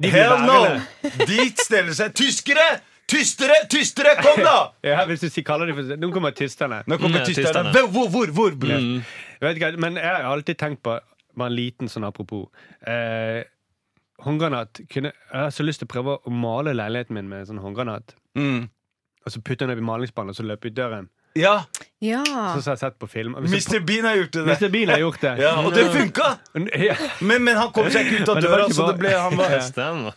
Speaker 4: de blir
Speaker 2: Hell no!
Speaker 4: værende.
Speaker 2: De steller seg. Tyskere! Tystere! Tystere! Kom, da!
Speaker 4: Ja, hvis du sier- kaller de for Nå kommer tysterne.
Speaker 2: Nå kommer
Speaker 6: Mm,
Speaker 2: tysterne.
Speaker 6: tysterne.
Speaker 2: Hvor, hvor, hvor, hvor bror?
Speaker 4: Vet ikke, men jeg har alltid tenkt på Bare en liten sånn apropos. Eh, håndgranat kunne, Jeg har så lyst til å prøve å male leiligheten min med en sånn håndgranat.
Speaker 2: Mm.
Speaker 4: Og så putte den opp i malingsbanen, og så løpe ut døren.
Speaker 2: Ja,
Speaker 5: Ja.
Speaker 4: Sånn som jeg har sett på film. Og hvis
Speaker 2: Mr. Bean har gjort
Speaker 4: jeg-
Speaker 2: det.
Speaker 4: Mr. Bean har gjort det.
Speaker 2: Ja, og det funka!
Speaker 4: Ja,
Speaker 2: Men, men han kom seg ikke ut av
Speaker 4: Men det var
Speaker 2: døra,
Speaker 4: ikke
Speaker 2: så det
Speaker 4: bare-
Speaker 2: ble han var,
Speaker 4: Ja.
Speaker 6: Stemmer.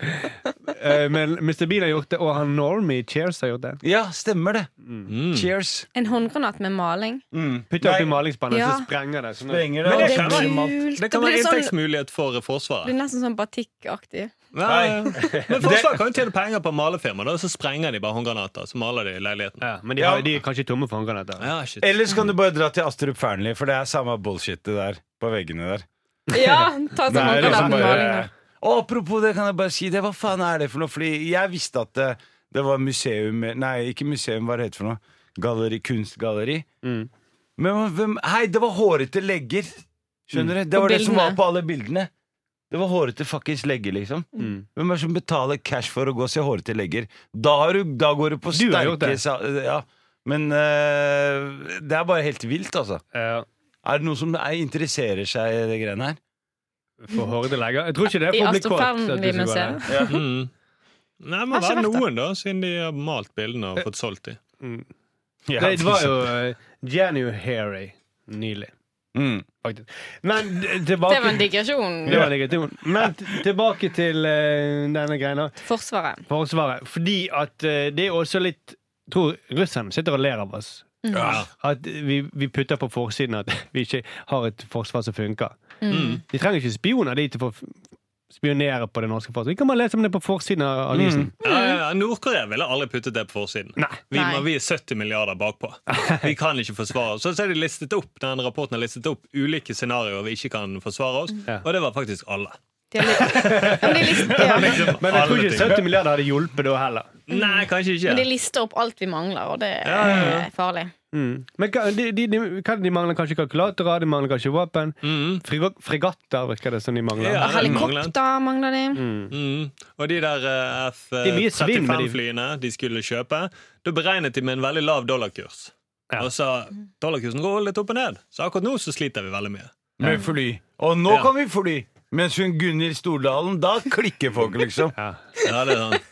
Speaker 4: eh, men Mr. Bean har gjort det, og han Normie i Cheers har gjort det.
Speaker 2: Ja, stemmer det. Cheers.
Speaker 5: En håndgranat med maling.
Speaker 2: Mm.
Speaker 4: Putte opp i
Speaker 2: Nei,
Speaker 4: malingsbanen, og
Speaker 5: Ja.
Speaker 4: så sprenger det. Sånn at-
Speaker 2: Sprenger det.
Speaker 6: Men det
Speaker 5: Det
Speaker 6: kan
Speaker 5: er
Speaker 6: være
Speaker 5: kult.
Speaker 6: Det
Speaker 5: Da
Speaker 6: kan
Speaker 5: blir
Speaker 6: være
Speaker 5: det sånn-
Speaker 6: inntektsmulighet for
Speaker 5: Det
Speaker 6: Forsvaret.
Speaker 5: blir nesten sånn batikkaktig.
Speaker 6: Ja, ja. Men Forsvaret kan jo tjene penger på malefirma, da, så sprenger de bare håndgranater. Så maler de leiligheten. Eh.
Speaker 4: Ja, men de, har,
Speaker 2: Ja.
Speaker 4: de er kanskje tomme for håndgranater.
Speaker 6: Ja, shit.
Speaker 2: Ellers kan du bare dra til Astrup Fearnley, for det er samme bullshitet der. På veggene der.
Speaker 5: Ja, ta sånn
Speaker 2: Det er liksom
Speaker 5: håndgranat med maling.
Speaker 2: bare- Og apropos det, kan jeg bare si det. Hva faen er det for noe? Fordi jeg visste at det, det var museum Nei, ikke museum, hva det heter for noe? Galleri, kunstgalleri.
Speaker 4: Mm.
Speaker 2: Men hvem Hei, det var hårete legger! Skjønner
Speaker 4: Mm.
Speaker 2: du? Det var
Speaker 5: På
Speaker 2: det som var
Speaker 5: bildene.
Speaker 2: på alle bildene. Det var hårete fuckings legger, liksom.
Speaker 4: Mm.
Speaker 2: Hvem er det som betaler cash for å gå og se hårete legger? Da, har du, da går du på
Speaker 4: Du har gjort
Speaker 2: sterke
Speaker 4: det.
Speaker 2: sa- Ja. Men eh, det er bare helt vilt, altså.
Speaker 4: Ja,
Speaker 2: Er det noen som er, interesserer seg i det greiene her?
Speaker 4: for hordeleger. Jeg tror ikke det er
Speaker 5: I
Speaker 4: for å bli kåt. at du skal gå der.
Speaker 5: Astrofernli-museet.
Speaker 6: Mm. Nei, det Eh. må
Speaker 5: Har ikke
Speaker 6: være
Speaker 5: vært det.
Speaker 6: noen, da, siden de har malt bildene og fått solgt dem.
Speaker 4: Nei, det var jo eh, January nylig,
Speaker 2: mm.
Speaker 4: faktisk. Men d- tilbake
Speaker 5: Det var en digresjon.
Speaker 4: Det var en digresjon. Men t- tilbake til eh, denne greia.
Speaker 5: Forsvaret.
Speaker 4: Forsvaret. Fordi at eh, det er også litt Tror russerne sitter og ler av oss.
Speaker 6: Ja.
Speaker 4: At vi, vi putter på forsiden at vi ikke har et forsvar som funker.
Speaker 6: Mm.
Speaker 4: De trenger ikke spioner dit til å f- spionere på det norske forsvaret. Vi kan bare lese om det på forsiden av avisen.
Speaker 6: Ja, ja, ja. Nord-Korea ville aldri puttet det på forsiden.
Speaker 4: Mm. Nei.
Speaker 6: Vi,
Speaker 5: Nei.
Speaker 6: men vi er 70 milliarder bakpå. Vi kan ikke forsvare oss. Så så er de listet opp, denne rapporten har listet opp ulike scenarioer vi ikke kan forsvare oss,
Speaker 4: Ja.
Speaker 6: og det var faktisk alle.
Speaker 5: Det er litt- Ja, Men de lister- ja.
Speaker 4: Men jeg tror
Speaker 6: Alle
Speaker 4: ikke
Speaker 6: ting.
Speaker 4: 70 milliarder hadde hjulpet da heller.
Speaker 6: Nei, kanskje ikke.
Speaker 5: Men de lister opp alt vi mangler, og det
Speaker 6: Ja, ja, ja.
Speaker 5: er farlig.
Speaker 4: Mm. Men hva- de, de, de, hva- de mangler kanskje kalkulatorer, de mangler kanskje våpen.
Speaker 6: Mhm.
Speaker 4: Frigo- Fregatter virker det som de mangler.
Speaker 6: Ja, det mangler.
Speaker 5: Helikopter mangler de.
Speaker 6: Mm. Og de der eh,
Speaker 4: Det er mye svinn med de-
Speaker 6: F-35-flyene de skulle kjøpe, da beregnet de med en veldig lav dollarkurs.
Speaker 4: Ja.
Speaker 6: Og så Dollarkursen går litt opp og ned, så akkurat nå så sliter vi veldig mye.
Speaker 2: Med fly. Og nå
Speaker 6: Ja.
Speaker 2: kan vi fly! Mens hun Gunhild Stordalen, da klikker folk, liksom.
Speaker 4: Ja.
Speaker 6: Ja, det er sånn.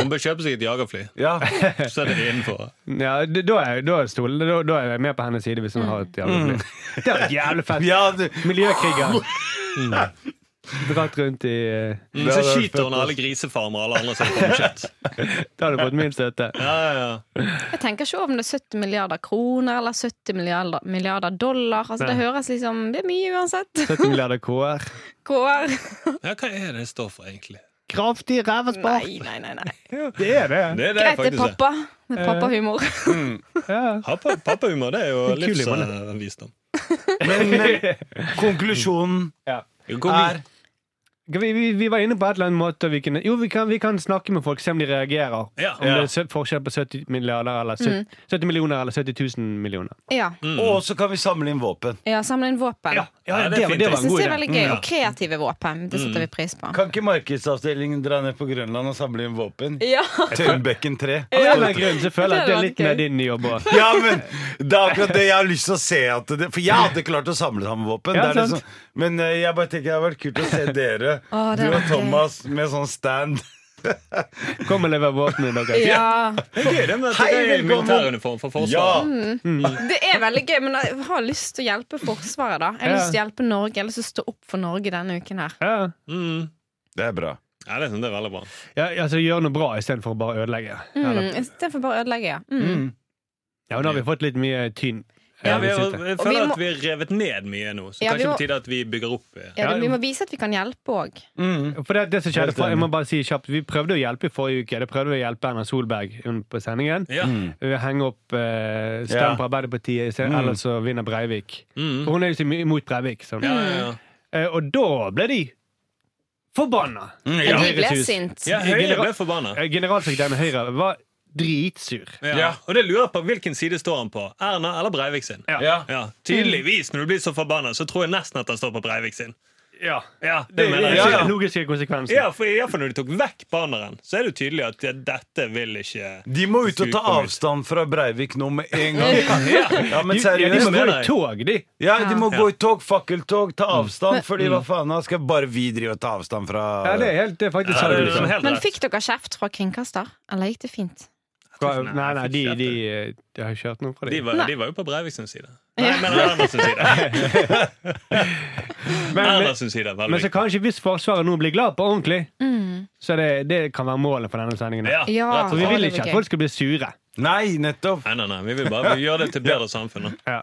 Speaker 6: Hun bør kjøpe seg et jagerfly,
Speaker 2: Ja.
Speaker 6: så er det innenfor.
Speaker 4: Ja, d- da er, da, er Stol, da, da er jeg med på hennes side hvis hun har et jævlig
Speaker 6: Mm.
Speaker 4: fly. Det er et jævlig fett
Speaker 2: ja du,
Speaker 4: miljøkriger. Mm. Dratt rundt i eh,
Speaker 2: Det
Speaker 6: Mm, så
Speaker 2: hadde vært fett,
Speaker 6: skyter hun alle grisefarmere og alle andre som kommer kjøtt.
Speaker 4: Da har du fått min støtte.
Speaker 6: Ja, ja, ja.
Speaker 5: Jeg tenker ikke over om det er 70 milliarder kroner eller 70 milliarder, milliarder dollar. Altså, det
Speaker 4: Nei.
Speaker 5: høres liksom Det er mye uansett.
Speaker 4: 70 milliarder KR.
Speaker 5: Går.
Speaker 6: Ja, hva er det det står for, egentlig?
Speaker 4: Kraftig rævespart.
Speaker 5: Nei, nei, nei. nei.
Speaker 4: Det er det.
Speaker 6: Det
Speaker 5: Greit, det
Speaker 6: er det,
Speaker 5: er
Speaker 6: faktisk. det.
Speaker 5: pappa. Med pappahumor.
Speaker 4: Ja.
Speaker 6: Pappa- Pappahumor, det er jo eh,
Speaker 4: Kul humor, det.
Speaker 6: livsvisdom.
Speaker 2: men, men konklusjonen
Speaker 4: Ja.
Speaker 2: er
Speaker 4: Vi, vi, vi var inne på et eller annet måte vi kunne, Jo, vi kan, vi kan snakke med folk, se om de reagerer.
Speaker 6: Ja.
Speaker 4: Om det er sø- forskjell på 70 milliarder eller 70, 70 millioner eller 70 000 millioner.
Speaker 5: Ja.
Speaker 2: Og så kan vi samle inn våpen.
Speaker 5: ja samle inn våpen.
Speaker 6: Ja, det er fint.
Speaker 5: Jeg syns det er veldig gøy.
Speaker 6: Ja.
Speaker 5: Og kreative våpen. Det setter vi pris på.
Speaker 2: Kan ikke markedsavdelingen dra ned på Grønland og samle inn våpen?
Speaker 5: Ja.
Speaker 2: Tømbekken 3.
Speaker 4: Av en eller annen grunn så føler jeg at det
Speaker 5: Det
Speaker 4: er
Speaker 5: hadde
Speaker 4: litt
Speaker 5: vært
Speaker 4: mer
Speaker 5: gøy.
Speaker 4: din jobb òg.
Speaker 2: Ja, men det er akkurat det jeg har lyst til å se. At det, for jeg hadde klart å samle sammen våpen.
Speaker 4: Ja,
Speaker 2: det er
Speaker 4: sant.
Speaker 2: liksom, men eh, jeg bare tenker det hadde vært kult å se dere,
Speaker 5: Å, det
Speaker 2: du
Speaker 5: hadde
Speaker 2: og
Speaker 5: vært gøy.
Speaker 2: Thomas, med sånn stand.
Speaker 4: Kom og lever båten min, dere.
Speaker 5: Ja.
Speaker 6: Det er gøy det med at
Speaker 2: Hei,
Speaker 6: det er
Speaker 2: velkommen.
Speaker 6: militæruniform for Forsvaret.
Speaker 4: sånn.
Speaker 5: Det er veldig gøy, men jeg har lyst til å hjelpe Forsvaret, da. Jeg har
Speaker 4: Ja.
Speaker 5: lyst til å hjelpe Norge. Jeg har lyst til å stå opp for Norge denne uken her.
Speaker 4: Ja.
Speaker 6: Mm.
Speaker 2: Det er bra.
Speaker 6: Ja, det, er sånn, det er veldig bra.
Speaker 4: Ja, altså, gjør noe bra istedenfor å bare ødelegge.
Speaker 5: Mm,
Speaker 4: Eller-
Speaker 5: Istedenfor bare å ødelegge. ja. Mm.
Speaker 4: Ja, og nå har vi fått litt mye tyn.
Speaker 6: Ja,
Speaker 4: Ja,
Speaker 6: vi,
Speaker 4: vi sitter.
Speaker 6: jeg
Speaker 5: Og vi
Speaker 6: føler
Speaker 5: må-
Speaker 6: at vi har revet ned mye nå, så
Speaker 5: Ja, vi
Speaker 6: kanskje
Speaker 5: må-
Speaker 6: på tide at vi bygger opp. eh.
Speaker 5: Ja, det, vi må vise at vi kan hjelpe òg.
Speaker 6: Mm.
Speaker 4: For det, det som skjedde,
Speaker 2: Helt
Speaker 4: for, jeg
Speaker 2: enig.
Speaker 4: må bare si kjapt Vi prøvde å hjelpe i forrige uke. Det prøvde vi å hjelpe Erna Solberg un- på sendingen.
Speaker 6: Ja.
Speaker 4: Ved å Henge opp eh,
Speaker 2: Ja.
Speaker 4: stem på Arbeiderpartiet, så- ellers så vinner Breivik.
Speaker 6: Mm.
Speaker 4: For hun er jo så mye imot Breivik. Sånn.
Speaker 6: Ja, ja, ja.
Speaker 4: Eh, og da ble de forbanna!
Speaker 5: Ja.
Speaker 4: Høyres
Speaker 5: De ble
Speaker 4: hus.
Speaker 5: sint.
Speaker 6: Mm. ja Høyre
Speaker 4: General-
Speaker 6: ble forbanna.
Speaker 4: Eh, Generalsekretæren i Høyre var dritsur.
Speaker 6: Ja.
Speaker 2: Ja.
Speaker 6: Og det lurer jeg på hvilken side står han på. Erna eller Breivik sin?
Speaker 4: Ja.
Speaker 2: Ja.
Speaker 6: Ja, Tydeligvis, når du blir så forbanna, så tror jeg nesten at han står på Breivik sin.
Speaker 4: Ja.
Speaker 6: Ja, det,
Speaker 4: Det
Speaker 6: mener
Speaker 4: er
Speaker 6: jeg.
Speaker 4: ja,
Speaker 6: Ja, ja.
Speaker 4: logiske konsekvenser.
Speaker 6: Ja, for, ja, for når de tok vekk banneren, så er det jo tydelig at ja, dette vil ikke
Speaker 2: De må ut og ta
Speaker 6: Supernytt.
Speaker 2: avstand fra Breivik nå med en gang. Ja, men
Speaker 4: de, ja, de må
Speaker 2: seriøst.
Speaker 6: med
Speaker 4: gå i
Speaker 6: deg.
Speaker 4: tog, de.
Speaker 2: Ja, de må
Speaker 6: Ja.
Speaker 2: gå i tog, fakkeltog, ta
Speaker 4: Mm.
Speaker 2: avstand, fordi hva faen, da skal bare vi drive og ta avstand fra
Speaker 4: Ja, det er, helt, det er faktisk
Speaker 6: Ja,
Speaker 4: sant.
Speaker 6: det er sånn
Speaker 4: liksom.
Speaker 6: helt
Speaker 5: Men
Speaker 6: rett.
Speaker 5: fikk dere kjeft fra kringkaster, eller gikk det fint?
Speaker 4: Fra- Nei, nei, de,
Speaker 6: Fikk
Speaker 4: de,
Speaker 6: kjeft.
Speaker 4: eh, de har ikke hørt noe fra
Speaker 6: De
Speaker 4: dem.
Speaker 6: var,
Speaker 5: Nei.
Speaker 6: de var jo på Breivik sin side. Nei,
Speaker 5: Ja.
Speaker 6: men Erna sin side. Erna
Speaker 4: Men,
Speaker 6: sin side
Speaker 4: men så
Speaker 6: veldig.
Speaker 4: kanskje hvis Forsvaret nå blir glad på ordentlig,
Speaker 5: Mm.
Speaker 4: så det, det kan være målet for denne sendingen.
Speaker 6: Ja,
Speaker 5: Ja.
Speaker 6: rett
Speaker 4: For
Speaker 6: og
Speaker 4: vi
Speaker 6: slett.
Speaker 4: vil
Speaker 5: det blir
Speaker 4: ikke at
Speaker 5: gøy.
Speaker 4: folk skal bli sure.
Speaker 2: Nei, nettopp.
Speaker 6: Nei, nei, nei, vi vil bare vi gjøre det til bedre samfunn. da.
Speaker 4: Ja,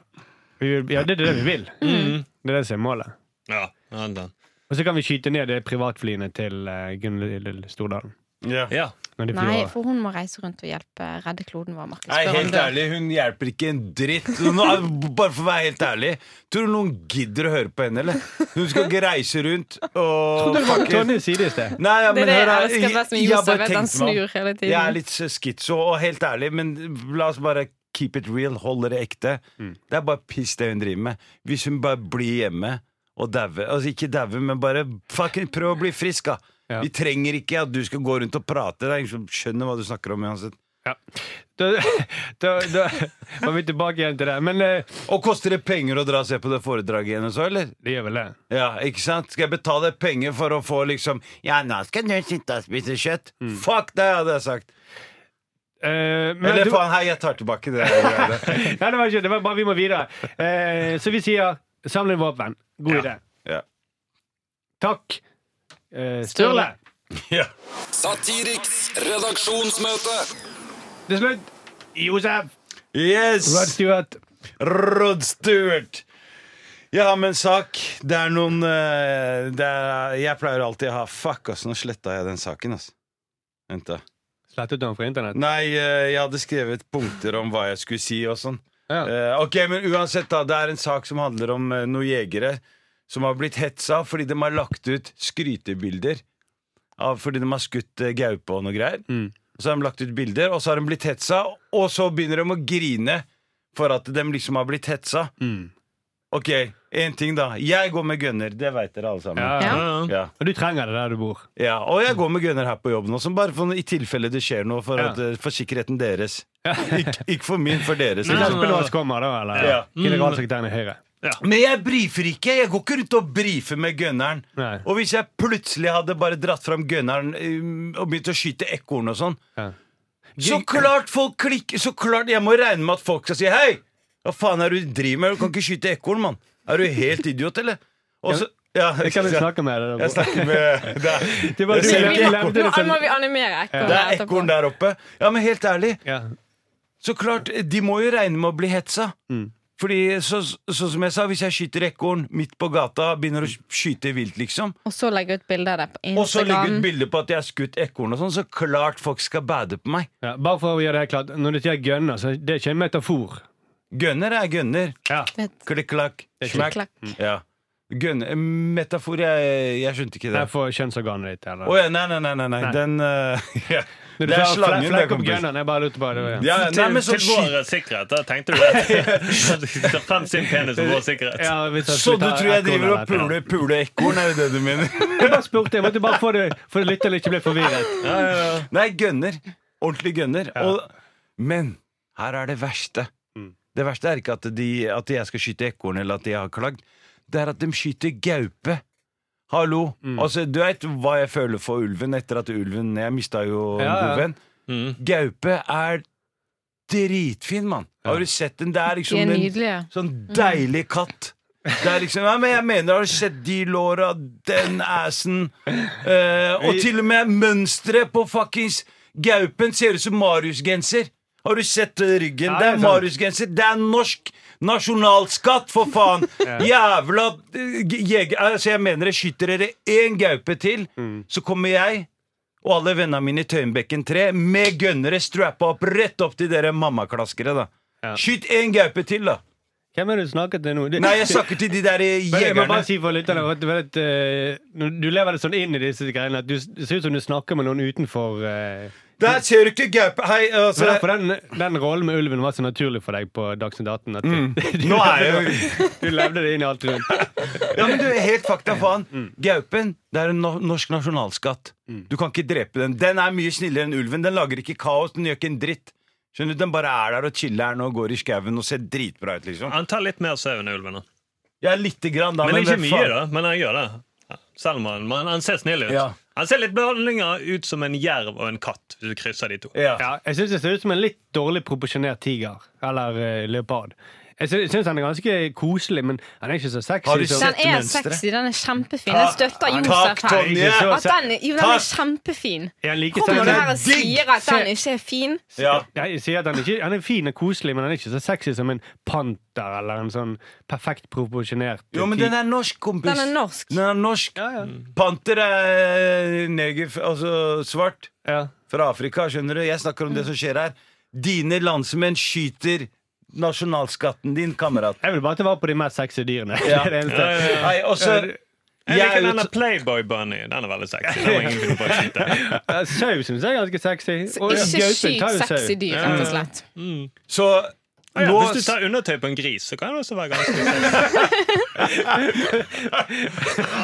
Speaker 4: vi vil, ja det er det vi vil.
Speaker 5: Mm.
Speaker 4: Det er det som er målet.
Speaker 6: Ja, vent da.
Speaker 4: Og så kan vi skyte ned de privatflyene til uh, Gunhild Stordalen.
Speaker 2: Ja.
Speaker 6: ja.
Speaker 4: Når de flyr
Speaker 5: Nei,
Speaker 4: over.
Speaker 5: for hun må reise rundt og hjelpe redde kloden vår, Markus.
Speaker 2: Nei,
Speaker 5: Før hun
Speaker 2: helt
Speaker 5: dør.
Speaker 2: ærlig, hun hjelper ikke en dritt. Nå, bare for å være helt ærlig, tror du noen gidder å høre på henne, eller? Hun skal ikke reise rundt og
Speaker 4: Trodde det var
Speaker 2: fucking-
Speaker 4: Tonje Side i sted.
Speaker 2: Nei, ja,
Speaker 5: Det
Speaker 2: men
Speaker 5: er det
Speaker 2: hør
Speaker 5: jeg
Speaker 2: her,
Speaker 5: elsker best med
Speaker 2: jeg har bare
Speaker 5: Josef, at han
Speaker 2: tenkt meg om.
Speaker 5: snur hele tiden.
Speaker 2: Jeg er litt skitso og helt ærlig, men la oss bare keep it real, holde det ekte. Det er bare piss det hun driver med. Hvis hun bare blir hjemme og daue Altså ikke daue, men bare fucking prøv å bli frisk, da.
Speaker 4: Ja.
Speaker 2: Vi trenger ikke at du skal gå rundt og prate. Det er ingen som skjønner hva du snakker om uansett.
Speaker 4: Ja. Da, da, da var vi tilbake igjen til det. Men eh,
Speaker 2: Og koster det penger å dra og se på det foredraget igjen og så, eller?
Speaker 4: det gjør vel det.
Speaker 2: Ja, ikke sant? Skal jeg betale penger for å få liksom Ja, nå skal du sitte og spise kjøtt. Fuck det, hadde jeg sagt.
Speaker 4: Eh, men
Speaker 2: Eller
Speaker 4: du-
Speaker 2: faen, hei, jeg tar tilbake det. greiene.
Speaker 4: Nei, det var ikke det. var bare vi må videre. Eh, så vi sier samle inn våpen. God idé.
Speaker 2: Ja.
Speaker 4: Takk. Eh, Sturle.
Speaker 2: ja.
Speaker 3: Satiriks redaksjonsmøte.
Speaker 4: Til slutt, Josef.
Speaker 2: Yes!
Speaker 4: Rod Stewart.
Speaker 2: Rod Stewart. Jeg har med en sak. Det er noen eh, det er, Jeg pleier alltid å ha Fuck, ass, nå sletta jeg den saken, ass. Vent, da.
Speaker 4: Slettet du ham fra internett?
Speaker 2: Nei, eh, jeg hadde skrevet punkter om hva jeg skulle si og sånn.
Speaker 4: Ja.
Speaker 2: Eh, ok, men uansett, da. Det er en sak som handler om eh, noen jegere som har blitt hetsa fordi de har lagt ut skrytebilder av fordi de har skutt eh, gaupe og noe greier.
Speaker 4: Mm.
Speaker 2: Og så har de lagt ut bilder, og så har de blitt hetsa, og så begynner de å grine for at de liksom har blitt hetsa.
Speaker 4: Mm.
Speaker 2: Ok, én ting, da. Jeg går med gunner. Det veit dere alle sammen.
Speaker 4: Ja.
Speaker 5: Ja.
Speaker 2: Ja.
Speaker 4: Og du trenger det der du bor.
Speaker 2: Ja, og jeg går med gunner her på jobben også, bare for, i tilfelle det skjer noe, for,
Speaker 4: Ja.
Speaker 2: at, eh, for sikkerheten deres. Ikke, ikke for min, for deres.
Speaker 4: Så
Speaker 6: Nei,
Speaker 2: liksom.
Speaker 6: nei, nei.
Speaker 4: Espelås kommer da, eller?
Speaker 2: Ja.
Speaker 4: Generalsekretæren i Høyre.
Speaker 2: Men jeg brifer ikke! Jeg går ikke rundt og brifer med gunneren.
Speaker 4: Nei.
Speaker 2: Og hvis jeg plutselig hadde bare dratt fram gunneren um, og begynt å skyte ekorn og sånn,
Speaker 4: Ja.
Speaker 2: så klart folk klikker! Så klart Jeg må regne med at folk skal si hei! Hva faen er det du driver med? Du kan ikke skyte ekorn, mann! Er du helt idiot, eller? Og så ja,
Speaker 4: Det kan vi snakke med deg
Speaker 2: Jeg
Speaker 4: om.
Speaker 2: snakker med det er,
Speaker 4: Det var
Speaker 2: jeg
Speaker 4: du
Speaker 2: ser
Speaker 4: som
Speaker 2: ikke
Speaker 4: levde
Speaker 2: ekorn.
Speaker 4: det
Speaker 5: Nå
Speaker 4: selv.
Speaker 5: må vi animere ekorn.
Speaker 2: Det er ekorn der oppe. Ja, men helt ærlig,
Speaker 4: Ja.
Speaker 2: så klart, de må jo regne med å bli hetsa. Fordi, så, så som jeg sa, hvis jeg skyter ekorn midt på gata, begynner å skyte vilt, liksom,
Speaker 5: Og så legge ut bilde av det på
Speaker 2: og så legger
Speaker 5: Instagram.
Speaker 2: ut bilde på at jeg har skutt ekorn og sånn, så klart folk skal bade på meg.
Speaker 4: Ja. Bare for å gjøre det helt klart, når du sier gønner, så det er ikke en metafor.
Speaker 2: Gønner er gønner.
Speaker 4: Ja.
Speaker 5: Litt
Speaker 2: Klikk-klakk.
Speaker 4: Det er
Speaker 2: Smack.
Speaker 5: klakk.
Speaker 2: Ja. Gønner eh, Metafor, jeg, jeg skjønte ikke det.
Speaker 4: Jeg får kjønnsorganet ditt,
Speaker 2: Å
Speaker 4: eller?
Speaker 2: ja, nei, nei, nei, nei, nei.
Speaker 4: Nei.
Speaker 2: Den eh, ja.
Speaker 4: Når du
Speaker 2: Det er
Speaker 4: sier
Speaker 2: slangen,
Speaker 4: flekk-
Speaker 2: det,
Speaker 4: Flekk opp
Speaker 2: kompis.
Speaker 4: gunneren. Jeg bare lurte på det.
Speaker 2: Ja, nei,
Speaker 6: Til,
Speaker 2: men så
Speaker 6: til
Speaker 2: skyt
Speaker 6: vår sikkerhet, da tenkte du det? Ta frem sin penis og vår sikkerhet.
Speaker 4: Ja, hvis jeg
Speaker 2: Så
Speaker 4: skulle
Speaker 2: du
Speaker 4: ta
Speaker 2: tror jeg
Speaker 4: ekornet
Speaker 2: driver og
Speaker 4: der, ja.
Speaker 2: puler puler ekorn, er det det du mener?
Speaker 4: Jeg bare spurte, jeg måtte bare få det For lytteren ikke ble forvirret
Speaker 6: Ja, ja, ja.
Speaker 2: Nei, gønner. Ordentlig gønner. Og, men her er det verste.
Speaker 4: Mm.
Speaker 2: Det verste er ikke at, de, at jeg skal skyte ekorn, eller at de har klagd. Det er at de skyter gaupe. Hallo.
Speaker 4: Mm.
Speaker 2: Altså, du vet hva jeg føler for ulven etter at ulven Jeg mista jo en
Speaker 4: Ja, ja. Mm.
Speaker 2: god venn. Gaupe er dritfin, mann. Har du sett den? Det er
Speaker 5: De er
Speaker 2: liksom den
Speaker 5: nydelige.
Speaker 2: Sånn deilig katt. Det er liksom, ja, men jeg mener, Har du sett de låra, den assen eh, Og til og med mønsteret på fuckings gaupen ser ut som Marius-genser. Har du sett eh, ryggen?
Speaker 4: Ja,
Speaker 2: det
Speaker 4: det er
Speaker 2: er
Speaker 4: sant.
Speaker 2: Marius-genser. Det er norsk nasjonalskatt, for faen! Jævla eh, g- jeger... Altså, jeg mener, det skyter dere én gaupe til,
Speaker 4: Mm.
Speaker 2: så kommer jeg og alle vennene mine i Tøyenbekken 3 med gønnere strappa opp rett opp til dere mammaklaskere, da.
Speaker 4: Ja.
Speaker 2: Skyt én gaupe til, da!
Speaker 4: Hvem er det du snakker til nå? Du-
Speaker 2: Nei, jeg snakker til de der eh,
Speaker 4: Men jeg må
Speaker 2: jegerne.
Speaker 4: bare si for lytterne at du, vet, eh, når du lever det sånn inn i disse greiene at du, det ser ut som du snakker med noen utenfor eh,
Speaker 2: Der ser du ikke gaupe Hei,
Speaker 4: Det var
Speaker 2: altså
Speaker 4: derfor den, den rollen med ulven var så naturlig for deg på Dagsnytt 18. At du,
Speaker 2: Mm.
Speaker 4: du,
Speaker 2: Nå er jeg
Speaker 4: levde- du levde det inn i alt rundt.
Speaker 2: Ja, men du, helt fakta, faen.
Speaker 4: Mm.
Speaker 2: Gaupen det er en no norsk nasjonalskatt. Du kan ikke drepe den. Den er mye snillere enn ulven. Den lager ikke kaos. Den gjør ikke en dritt. Skjønner du, Den bare er der og chiller'n og går i skauen og ser dritbra ut, liksom.
Speaker 6: Han tar litt mer sau enn ulven. da.
Speaker 2: Ja, lite grann, da.
Speaker 6: Men ikke
Speaker 2: hvem
Speaker 6: mye,
Speaker 2: faen-
Speaker 6: da. Men han gjør det. Salman men han ser snill ut.
Speaker 2: Ja.
Speaker 6: Han ser litt blandinger ut som en jerv og en katt. Hvis du krysser de to
Speaker 2: Ja.
Speaker 4: Ja, jeg syns det ser ut som en litt dårlig proporsjonert tiger. Eller eh, leopard. Jeg sy- syns han er ganske koselig, men han er ikke så sexy.
Speaker 2: Har du
Speaker 4: som-
Speaker 2: sett-
Speaker 5: Den er
Speaker 2: mønsteret.
Speaker 5: sexy. Den er kjempefin. Jeg støtter Josef
Speaker 2: Takk,
Speaker 5: her.
Speaker 2: Tonje.
Speaker 4: Ikke
Speaker 5: At den, jo, den er
Speaker 2: Takk.
Speaker 5: kjempefin.
Speaker 4: Er han like
Speaker 5: Kommer du
Speaker 4: sexy?
Speaker 5: her
Speaker 2: digg.
Speaker 5: og sier at den ikke er fin?
Speaker 2: Ja.
Speaker 4: Nei, jeg sier at han, ikke, han er fin og koselig, men han er ikke så sexy som en panter eller en sånn perfekt proporsjonert
Speaker 2: Jo, men den er norsk, kompis.
Speaker 5: Den er norsk.
Speaker 2: Den er norsk.
Speaker 4: ja, ja.
Speaker 2: Panter er eh, neger... Altså svart.
Speaker 4: Ja.
Speaker 2: fra Afrika, skjønner du? Jeg snakker om
Speaker 5: Mm.
Speaker 2: det som skjer her. Dine landsmenn skyter nasjonalskatten din, kamerat.
Speaker 4: Jeg vil bare at det var på de mest sexy dyrene.
Speaker 2: Ja.
Speaker 4: det er det eneste.
Speaker 2: Nei, og så
Speaker 6: Eh, Jeg
Speaker 2: Eh, Jeg er
Speaker 6: liker
Speaker 2: jo
Speaker 6: denne
Speaker 2: t-
Speaker 6: Playboy Bunny. Den er veldig sexy. Den må ingen finne på å skyte.
Speaker 4: Ja, Sau syns jeg er ganske sexy. Og
Speaker 5: Ikke
Speaker 4: gaupen
Speaker 5: skyt
Speaker 4: tar jo sau.
Speaker 5: sexy dyr, rett og slett.
Speaker 2: Så
Speaker 6: Ah, ja,
Speaker 2: nå
Speaker 6: hvis du tar undertøy på en gris, så kan det også være ganske sexy. Ah,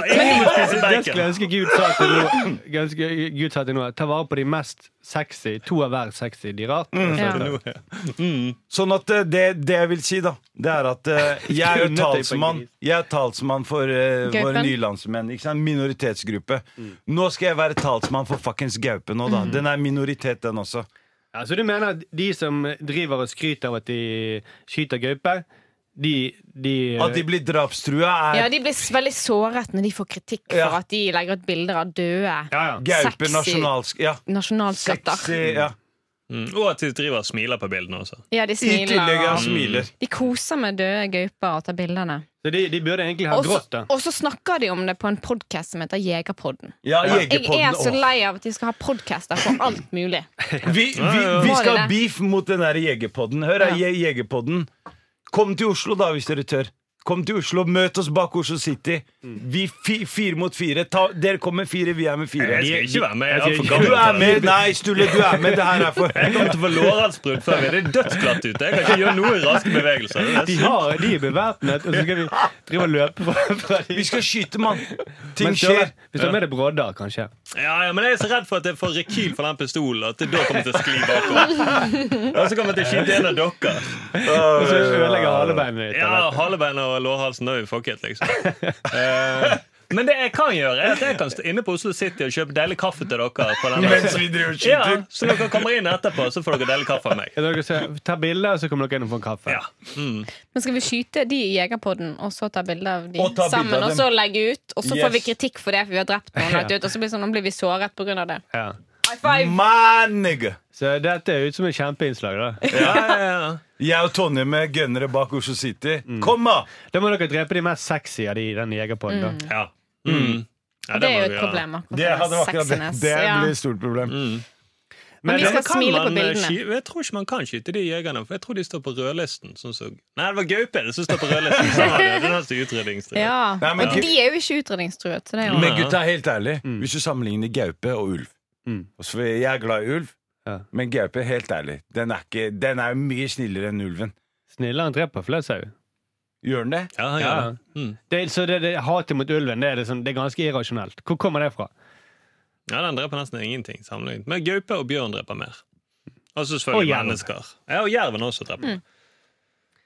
Speaker 6: Ingen må
Speaker 4: Det
Speaker 6: spise
Speaker 4: skulle jeg
Speaker 6: bacon.
Speaker 4: ønske Gud sa til nå. Ganske, Gud sa til nå Ta vare på de mest sexy. To av hver sexy dyreart.
Speaker 2: Mm.
Speaker 4: Altså,
Speaker 5: Ja.
Speaker 2: Sånn at eh, det, det jeg vil si, da, det er at eh, jeg er
Speaker 4: Undertøy på en
Speaker 2: talsmann
Speaker 4: gris.
Speaker 2: Jeg er talsmann for eh, våre
Speaker 5: Gaupen.
Speaker 2: nylandsmenn. Ikke sant? Minoritetsgruppe.
Speaker 6: Mm.
Speaker 2: Nå skal jeg være talsmann for fuckings gaupe nå, da.
Speaker 5: Mm.
Speaker 2: Den er minoritet, den også.
Speaker 4: Ja, så du mener at de som driver og skryter av at de skyter gaupe, de, de,
Speaker 2: At de blir drapstrua, er
Speaker 5: Ja, de blir s- veldig såret når de får kritikk for
Speaker 2: Ja.
Speaker 5: at de legger ut bilder av døde
Speaker 4: ja, ja.
Speaker 2: gaupe
Speaker 5: sexy.
Speaker 2: nasjonalsk... Ja.
Speaker 5: nasjonalskatter.
Speaker 2: Sexy, ja.
Speaker 6: Mm, Og at de driver og smiler på bildene også.
Speaker 5: Ja, de
Speaker 2: I tillegg
Speaker 5: smiler.
Speaker 2: jeg
Speaker 5: og-
Speaker 2: smiler.
Speaker 6: Mm.
Speaker 5: De koser med døde gauper og tar bildene.
Speaker 4: Så de, de burde egentlig ha
Speaker 5: Og så-
Speaker 4: grått, da.
Speaker 5: Og så snakker de om det på en podkast som heter Jegerpodden.
Speaker 2: Ja,
Speaker 5: Jeg er
Speaker 2: Jegerpodden.
Speaker 5: så
Speaker 2: åh.
Speaker 5: lei av at de skal ha podkaster for alt mulig.
Speaker 2: Vi, vi, vi
Speaker 5: Var det
Speaker 2: skal ha
Speaker 5: det?
Speaker 2: beef mot den der jegerpodden. Hør,
Speaker 5: Ja.
Speaker 2: ja. jegerpodden. Kom til Oslo, da, hvis dere tør. Kom til Oslo, Møt oss bak Oslo City. Vi fi, Fire mot fire. Ta, dere kommer med fire, vi er med fire.
Speaker 6: Jeg skal ikke være med.
Speaker 4: jeg
Speaker 6: Jeg er
Speaker 4: skal
Speaker 6: for
Speaker 4: ikke-
Speaker 6: gammel
Speaker 2: Du er
Speaker 6: til
Speaker 2: med!
Speaker 6: det.
Speaker 2: Nei, Sturle, du er med. Det her er for
Speaker 6: Jeg kommer til å få lårhalsbrudd før vi er dødsglatt ute. Jeg kan ikke gjøre noen raske bevegelser.
Speaker 4: De, har, de er bevæpnet, og så skal vi drive og løpe fra, fra de.
Speaker 2: Vi skal skyte, mann!
Speaker 4: Men
Speaker 2: Ting
Speaker 4: så-
Speaker 2: skjer.
Speaker 4: Hvis de er det brodder, kanskje.
Speaker 6: Ja, ja, men jeg er så redd for at jeg får rekyl fra den pistolen at det da kommer til å skli bakover. Og så kommer jeg til å skyte en av dere.
Speaker 4: Og så ødelegger halebeinet ditt.
Speaker 6: Ja,
Speaker 4: eller?
Speaker 6: halebeina og lårhalsen er jo fucket, liksom. Eh, Men det jeg kan gjøre, er at jeg kan stå inne på Oslo City og kjøpe deilig kaffe til dere. På den
Speaker 2: Mens vi driver og
Speaker 6: ja,
Speaker 2: skyter.
Speaker 6: så når dere kommer inn etterpå, så får dere deilig kaffe av meg.
Speaker 4: Ja, Dere skal ta bilder, og så kommer dere inn og får en kaffe.
Speaker 6: Ja.
Speaker 5: Men skal vi skyte de i Jegerpodden, og så ta bilde av de
Speaker 2: Og ta bilde
Speaker 5: sammen,
Speaker 2: av
Speaker 5: og
Speaker 2: dem.
Speaker 5: så legge ut? Og så får vi
Speaker 2: Yes.
Speaker 5: kritikk for det, for vi har drept noen. lagt ut, Og så blir, det sånn, nå blir vi såret pga. det. Mm.
Speaker 4: Ja.
Speaker 5: High five!
Speaker 2: Man, nigga!
Speaker 4: Så dette er ut som et kjempeinnslag. da
Speaker 6: Ja, ja, ja.
Speaker 2: Jeg og Tonje med gønnere bak Oslo City. Kom, da!
Speaker 4: Da må dere drepe de mest sexy av de i den jegerpodden. da.
Speaker 6: ja. Mm. ja
Speaker 5: Det er
Speaker 6: må
Speaker 5: jo
Speaker 6: vi
Speaker 5: et
Speaker 6: gjøre.
Speaker 5: problem. akkurat
Speaker 2: Det
Speaker 5: med
Speaker 2: hadde vært akkurat det.
Speaker 5: sexiness.
Speaker 2: Det
Speaker 5: Ja.
Speaker 2: blir et stort problem.
Speaker 5: Men vi
Speaker 6: Ja,
Speaker 5: skal
Speaker 6: men kan
Speaker 5: smile på
Speaker 6: man, eh,
Speaker 5: bildene.
Speaker 6: sky- Jeg tror ikke man kan skyte de jegerne, for jeg tror de står på rødlisten. Sånn som- Nei, det var gauper som står på rødlisten. Sånn var det. Den er så utrydningstid.
Speaker 5: Ja.
Speaker 2: Nei, men
Speaker 5: og
Speaker 2: gu-
Speaker 5: de er jo ikke utrydningstruet. Så det er jo
Speaker 2: Men gutta, helt ærlig, hvis du sammenligner gaupe og ulv
Speaker 4: Mm.
Speaker 2: Og så- Jeg er glad i ulv,
Speaker 4: Ja.
Speaker 2: men gaupe, helt ærlig, den er, ikke, den er jo mye snillere enn ulven.
Speaker 4: Snillere enn dreper flest sau.
Speaker 2: Gjør den det?
Speaker 6: Ja, han gjør det. Mm.
Speaker 4: Det, så det, det, hatet mot ulven det er, liksom, det er ganske irrasjonelt. Hvor kommer det fra?
Speaker 6: ja, den dreper nesten ingenting sammenlignet. Men gaupe og bjørn dreper mer. Og så selvfølgelig
Speaker 4: Og jerv.
Speaker 5: Mm.
Speaker 6: mennesker. Ja, Og jerven også dreper.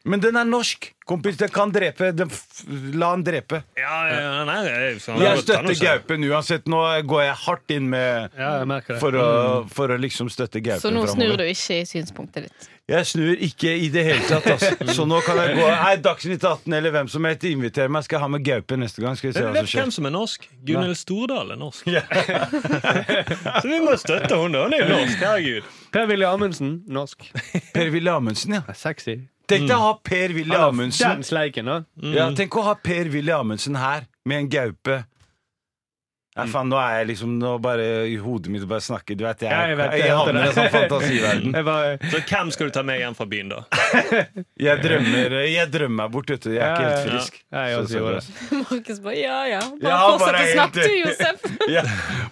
Speaker 2: Men den er norsk, kompis. Den kan drepe. Den f la han drepe.
Speaker 6: Ja, ja, nei, jeg, sånn,
Speaker 2: Jeg støtter gaupen uansett. Nå går jeg hardt inn med
Speaker 4: Ja, jeg merker det.
Speaker 2: for å, for å liksom støtte gaupen
Speaker 5: Så nå snur
Speaker 2: framover.
Speaker 5: du ikke i synspunktet ditt.
Speaker 2: Jeg snur ikke i det hele tatt, altså. Så nå kan jeg gå Nei, Dagsnytt 18 eller hvem som helst inviterer meg. Skal jeg ha med gaupe neste gang. Skal vi se
Speaker 6: Jeg
Speaker 2: hva som
Speaker 6: vet
Speaker 2: skjer.
Speaker 6: hvem som er norsk. Gunhild Stordal er norsk. så vi må støtte henne. Hun er jo norsk. Herregud.
Speaker 4: Per-Willy Amundsen, norsk.
Speaker 2: Per-Willy Amundsen, ja.
Speaker 4: Sexy.
Speaker 2: Tenk deg å ha Per-Willy Amundsen.
Speaker 4: Den sleiken, da.
Speaker 2: Ja, tenk å ha Per-Willy Amundsen her, med en gaupe. Nei,
Speaker 4: Mm.
Speaker 2: faen, nå er jeg liksom Nå bare i hodet mitt bare snakker. Du vet, jeg,
Speaker 4: Ja, jeg vet, jeg vet
Speaker 2: havner i
Speaker 4: det.
Speaker 2: en sånn fantasiverden.
Speaker 4: Jeg bare,
Speaker 6: Så hvem skal du ta med hjem fra byen, da?
Speaker 2: Jeg drømmer, jeg drømmer meg bort, vet du. Jeg er ikke
Speaker 4: Ja,
Speaker 2: helt
Speaker 4: ja, ja.
Speaker 2: frisk.
Speaker 4: Ja, jeg også
Speaker 2: Så- så
Speaker 4: gjorde
Speaker 2: bra.
Speaker 4: det.
Speaker 5: Markus bare ja ja. Bare
Speaker 2: Ja, bare
Speaker 5: fortsett å
Speaker 2: helt-
Speaker 5: snakke, du, Josef.
Speaker 2: Ja.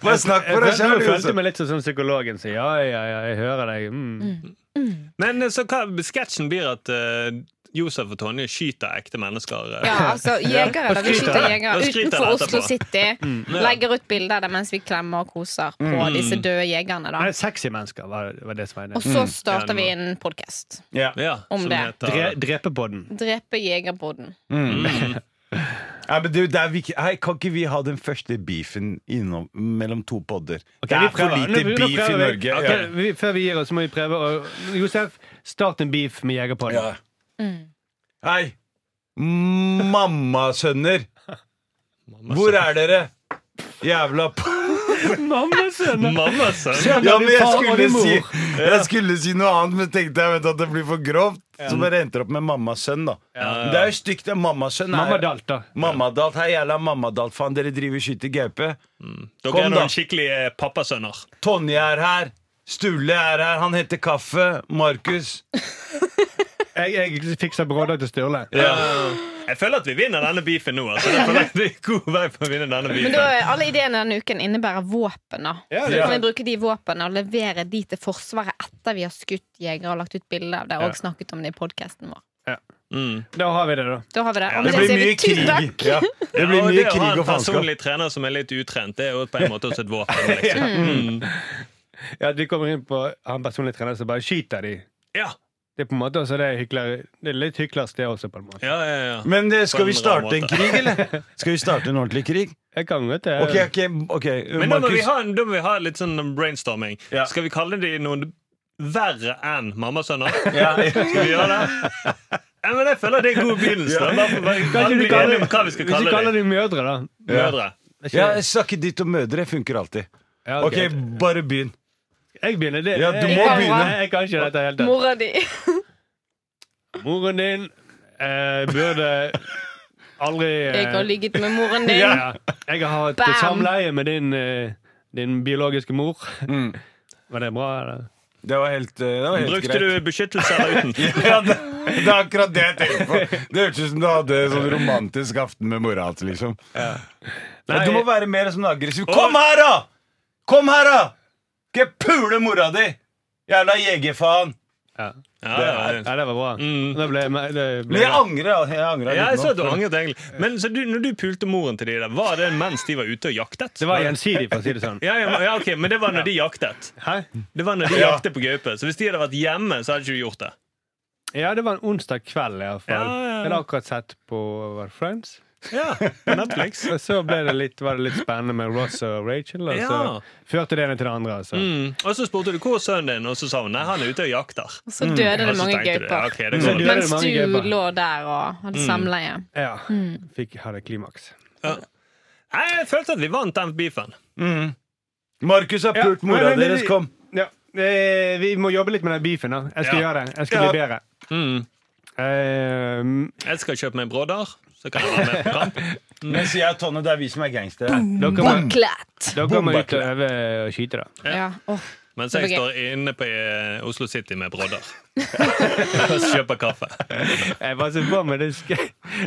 Speaker 2: Bare snakk for deg
Speaker 4: jeg følte,
Speaker 2: sjøl,
Speaker 4: jeg følte
Speaker 2: Josef.
Speaker 4: meg litt sånn som psykologen sier. Ja, ja, ja, jeg hører deg. Mm.
Speaker 6: Men eh, så hva, sketsjen blir at eh, Josef og Tonje skyter ekte mennesker. eh.
Speaker 5: Ja, altså, jegere. Da, vi
Speaker 6: skryter
Speaker 5: skyter
Speaker 6: jeg.
Speaker 5: jegere
Speaker 6: Da skryter jeg
Speaker 5: utenfor
Speaker 6: etterpå.
Speaker 5: Oslo City. Legger ut bilder av det mens vi klemmer og koser på
Speaker 6: Mm.
Speaker 5: disse døde jegerne, da.
Speaker 4: Nei, sexy mennesker var, var det som var
Speaker 5: Og
Speaker 4: inne. Mm.
Speaker 5: så
Speaker 6: Mm.
Speaker 5: starter
Speaker 6: Ja,
Speaker 5: vi
Speaker 6: det
Speaker 5: en podkast.
Speaker 2: Ja.
Speaker 6: Ja,
Speaker 5: Om
Speaker 6: som
Speaker 5: det.
Speaker 6: heter-
Speaker 4: Dre, drepepodden.
Speaker 5: Drepe jegerboden.
Speaker 2: Nei, men du, det er viktig. Hei, kan ikke vi ha den første beefen innom, mellom to podder? det
Speaker 4: Ok, vi
Speaker 2: er for
Speaker 4: prøver.
Speaker 2: lite
Speaker 4: Nå- nå
Speaker 2: beef i
Speaker 4: prøver vi.
Speaker 2: Norge.
Speaker 4: Ok,
Speaker 2: Ja.
Speaker 4: vi, før vi gir oss, må vi prøve å Josef, start en beef med Jegerpodden.
Speaker 2: Ja. Hei, mammasønner! Hvor er dere? Jævla p...
Speaker 4: Mamma, sønn!
Speaker 6: Mamma, sønn.
Speaker 4: Kjenner
Speaker 2: Ja,
Speaker 4: du
Speaker 2: men jeg
Speaker 4: far og
Speaker 2: skulle,
Speaker 4: din mor?
Speaker 2: si, jeg skulle si noe annet, men tenkte jeg vet, at det blir for grovt. Så bare endte det opp med mammasønn, da.
Speaker 6: Ja.
Speaker 2: Det er jo stygt. det er Mammasønn er-
Speaker 4: Mamma Dalt, da.
Speaker 2: Mammadalt. Hei, jævla Mammadalt, faen. Dere driver og skyter gaupe.
Speaker 6: Dere
Speaker 2: Kom,
Speaker 6: er
Speaker 2: da.
Speaker 6: noen skikkelige eh, pappasønner.
Speaker 2: Tonje er her. Sturle er her. Han henter kaffe. Markus.
Speaker 4: Jeg, jeg fikser brøddag til Sturle.
Speaker 6: Jeg føler at vi vinner denne beefen nå. Altså. Jeg føler at vi er god vei for å vinne denne
Speaker 5: Men da,
Speaker 6: beefen
Speaker 5: er alle ideene denne uken innebærer våpen. da
Speaker 4: Ja,
Speaker 5: Så
Speaker 4: det er
Speaker 5: kan vi bruke de våpnene og levere de til Forsvaret etter vi har skutt jegere og lagt ut bilder av det og snakket om det i podkasten vår.
Speaker 6: Mm.
Speaker 4: Da har vi det, da.
Speaker 5: Da har vi det. Og
Speaker 2: Det
Speaker 5: med
Speaker 2: blir
Speaker 5: sier vi
Speaker 2: mye
Speaker 5: tusen takk.
Speaker 2: krig. Ja. Det
Speaker 6: Ja,
Speaker 2: blir
Speaker 6: og
Speaker 2: mye
Speaker 6: det å ha
Speaker 2: krig
Speaker 6: en
Speaker 2: og faenskap.
Speaker 6: personlig trener som er litt utrent, det er jo på en måte også et våpen. Liksom.
Speaker 2: Mm.
Speaker 4: Ja, Du kommer inn på han personlige treneren som bare skyter de.
Speaker 6: Ja,
Speaker 4: Det er på en måte også det hykler, Det er litt hyklersk, det også, på en måte.
Speaker 6: ja, ja, ja.
Speaker 2: Men eh, skal
Speaker 6: På en
Speaker 2: vi starte
Speaker 6: bra
Speaker 2: en
Speaker 6: måte.
Speaker 2: krig, eller? Skal vi starte en ordentlig krig?
Speaker 4: Jeg kan godt eh-
Speaker 2: Ok,
Speaker 4: det.
Speaker 2: ok, ok,
Speaker 6: Men da må, vi
Speaker 2: Markus.
Speaker 6: ha, en- da må vi ha litt sånn brainstorming.
Speaker 2: Ja.
Speaker 6: Skal vi kalle de noen verre enn mammasønner?
Speaker 2: Ja,
Speaker 6: Skal vi gjøre det? Ja, men jeg føler det er en god begynnelse. da. Bare for- bare-
Speaker 4: Kanskje du
Speaker 6: alle blir enige om hva vi skal
Speaker 4: hvis du
Speaker 6: kalle
Speaker 4: kaller
Speaker 6: dem.
Speaker 4: de mødre, da.
Speaker 6: Mødre.
Speaker 4: Er ikke-
Speaker 2: ja, snakke ditt om mødre funker alltid.
Speaker 4: Ja,
Speaker 2: Ok, bare begynn.
Speaker 4: Jeg begynner. Det,
Speaker 2: Ja, du
Speaker 4: jeg,
Speaker 2: må
Speaker 4: jeg-
Speaker 2: begynne.
Speaker 4: Nei, Jeg kan ikke dette helt. tatt.
Speaker 5: Mora di.
Speaker 4: Moren din eh, burde aldri eh,
Speaker 5: Jeg har ligget med moren din.
Speaker 4: ja, Jeg har hatt
Speaker 5: Bam!
Speaker 4: samleie med din, eh, din biologiske mor. Var det bra, eller?
Speaker 2: Mm. Det var helt, eh, det var helt
Speaker 6: Brukte
Speaker 2: greit.
Speaker 6: du beskyttelse eller uten?
Speaker 2: Ja, det, det er akkurat det jeg tenker på. Det hørtes ut som du hadde en sånn romantisk aften med mora hans. Liksom. Nei, du må være mer sånn aggressiv. Kom her, da! Kom her, da! Skal jeg pule mora di? Jævla jegerfaen.
Speaker 4: Ja,
Speaker 6: Ja, ja, ja.
Speaker 4: ja det var bra. Det ble, det ble
Speaker 2: Mm. Men jeg angrer. Jeg angrer
Speaker 6: Ja, jeg
Speaker 2: litt
Speaker 6: så
Speaker 2: nå.
Speaker 6: at du angret egentlig Men så du, når du pulte moren til de der, var det mens de var ute og jaktet?
Speaker 4: Det var gjensidig, for å si det sånn.
Speaker 6: ja, ja, men- ja, ok, Men det var når de jaktet.
Speaker 4: Hæ?
Speaker 6: Det var når de
Speaker 2: Ja.
Speaker 6: jaktet på gaupe. Så hvis de hadde vært hjemme, så hadde ikke du gjort det.
Speaker 4: Ja, det var en onsdag kveld, i hvert fall.
Speaker 6: Ja, ja, ja.
Speaker 4: Jeg hadde akkurat sett på Our Friends.
Speaker 6: Ja, på Netflix.
Speaker 4: Og så ble det litt, var det litt spennende med Ross og Rachel, og så
Speaker 6: Ja.
Speaker 4: førte det ene til det andre. Altså.
Speaker 6: Mm. Og så spurte du hvor er sønnen din, og så sa hun nei, han er ute og jakter.
Speaker 5: Og så døde
Speaker 6: Og
Speaker 5: det
Speaker 6: så
Speaker 5: mange
Speaker 6: tenkte du, ja, ok,
Speaker 5: gauper.
Speaker 6: det Mm.
Speaker 4: Så
Speaker 6: går
Speaker 4: du-
Speaker 6: nok.
Speaker 5: Mens
Speaker 4: mange
Speaker 5: du
Speaker 4: gauper.
Speaker 5: lå der og hadde samleie.
Speaker 4: Ja.
Speaker 5: Mm.
Speaker 4: Fikk ha det klimaks.
Speaker 6: Nei, Jeg følte at vi vant den beefen.
Speaker 2: Markus har pult
Speaker 4: Ja,
Speaker 2: mora
Speaker 4: men- men-
Speaker 2: deres. Kom.
Speaker 4: Ja. Eh, vi må jobbe litt med den beefen. da Jeg skal
Speaker 6: Ja.
Speaker 4: gjøre det. Jeg skal
Speaker 2: Ja.
Speaker 4: bli bedre.
Speaker 6: Mm.
Speaker 4: Eh,
Speaker 6: Jeg skal kjøpe meg brodder, så kan jeg være med på kamp.
Speaker 2: Mens jeg og Tonje, det er vi som er gangstere.
Speaker 4: dere må,
Speaker 5: Boklet!
Speaker 4: dere må ut og øve og skyte, da.
Speaker 5: Ja. åh.
Speaker 6: Mens
Speaker 5: Det
Speaker 6: jeg
Speaker 5: var
Speaker 6: står inne på eh, Oslo City med brodder og kjøper kaffe.
Speaker 4: Jeg bare så på meg det sk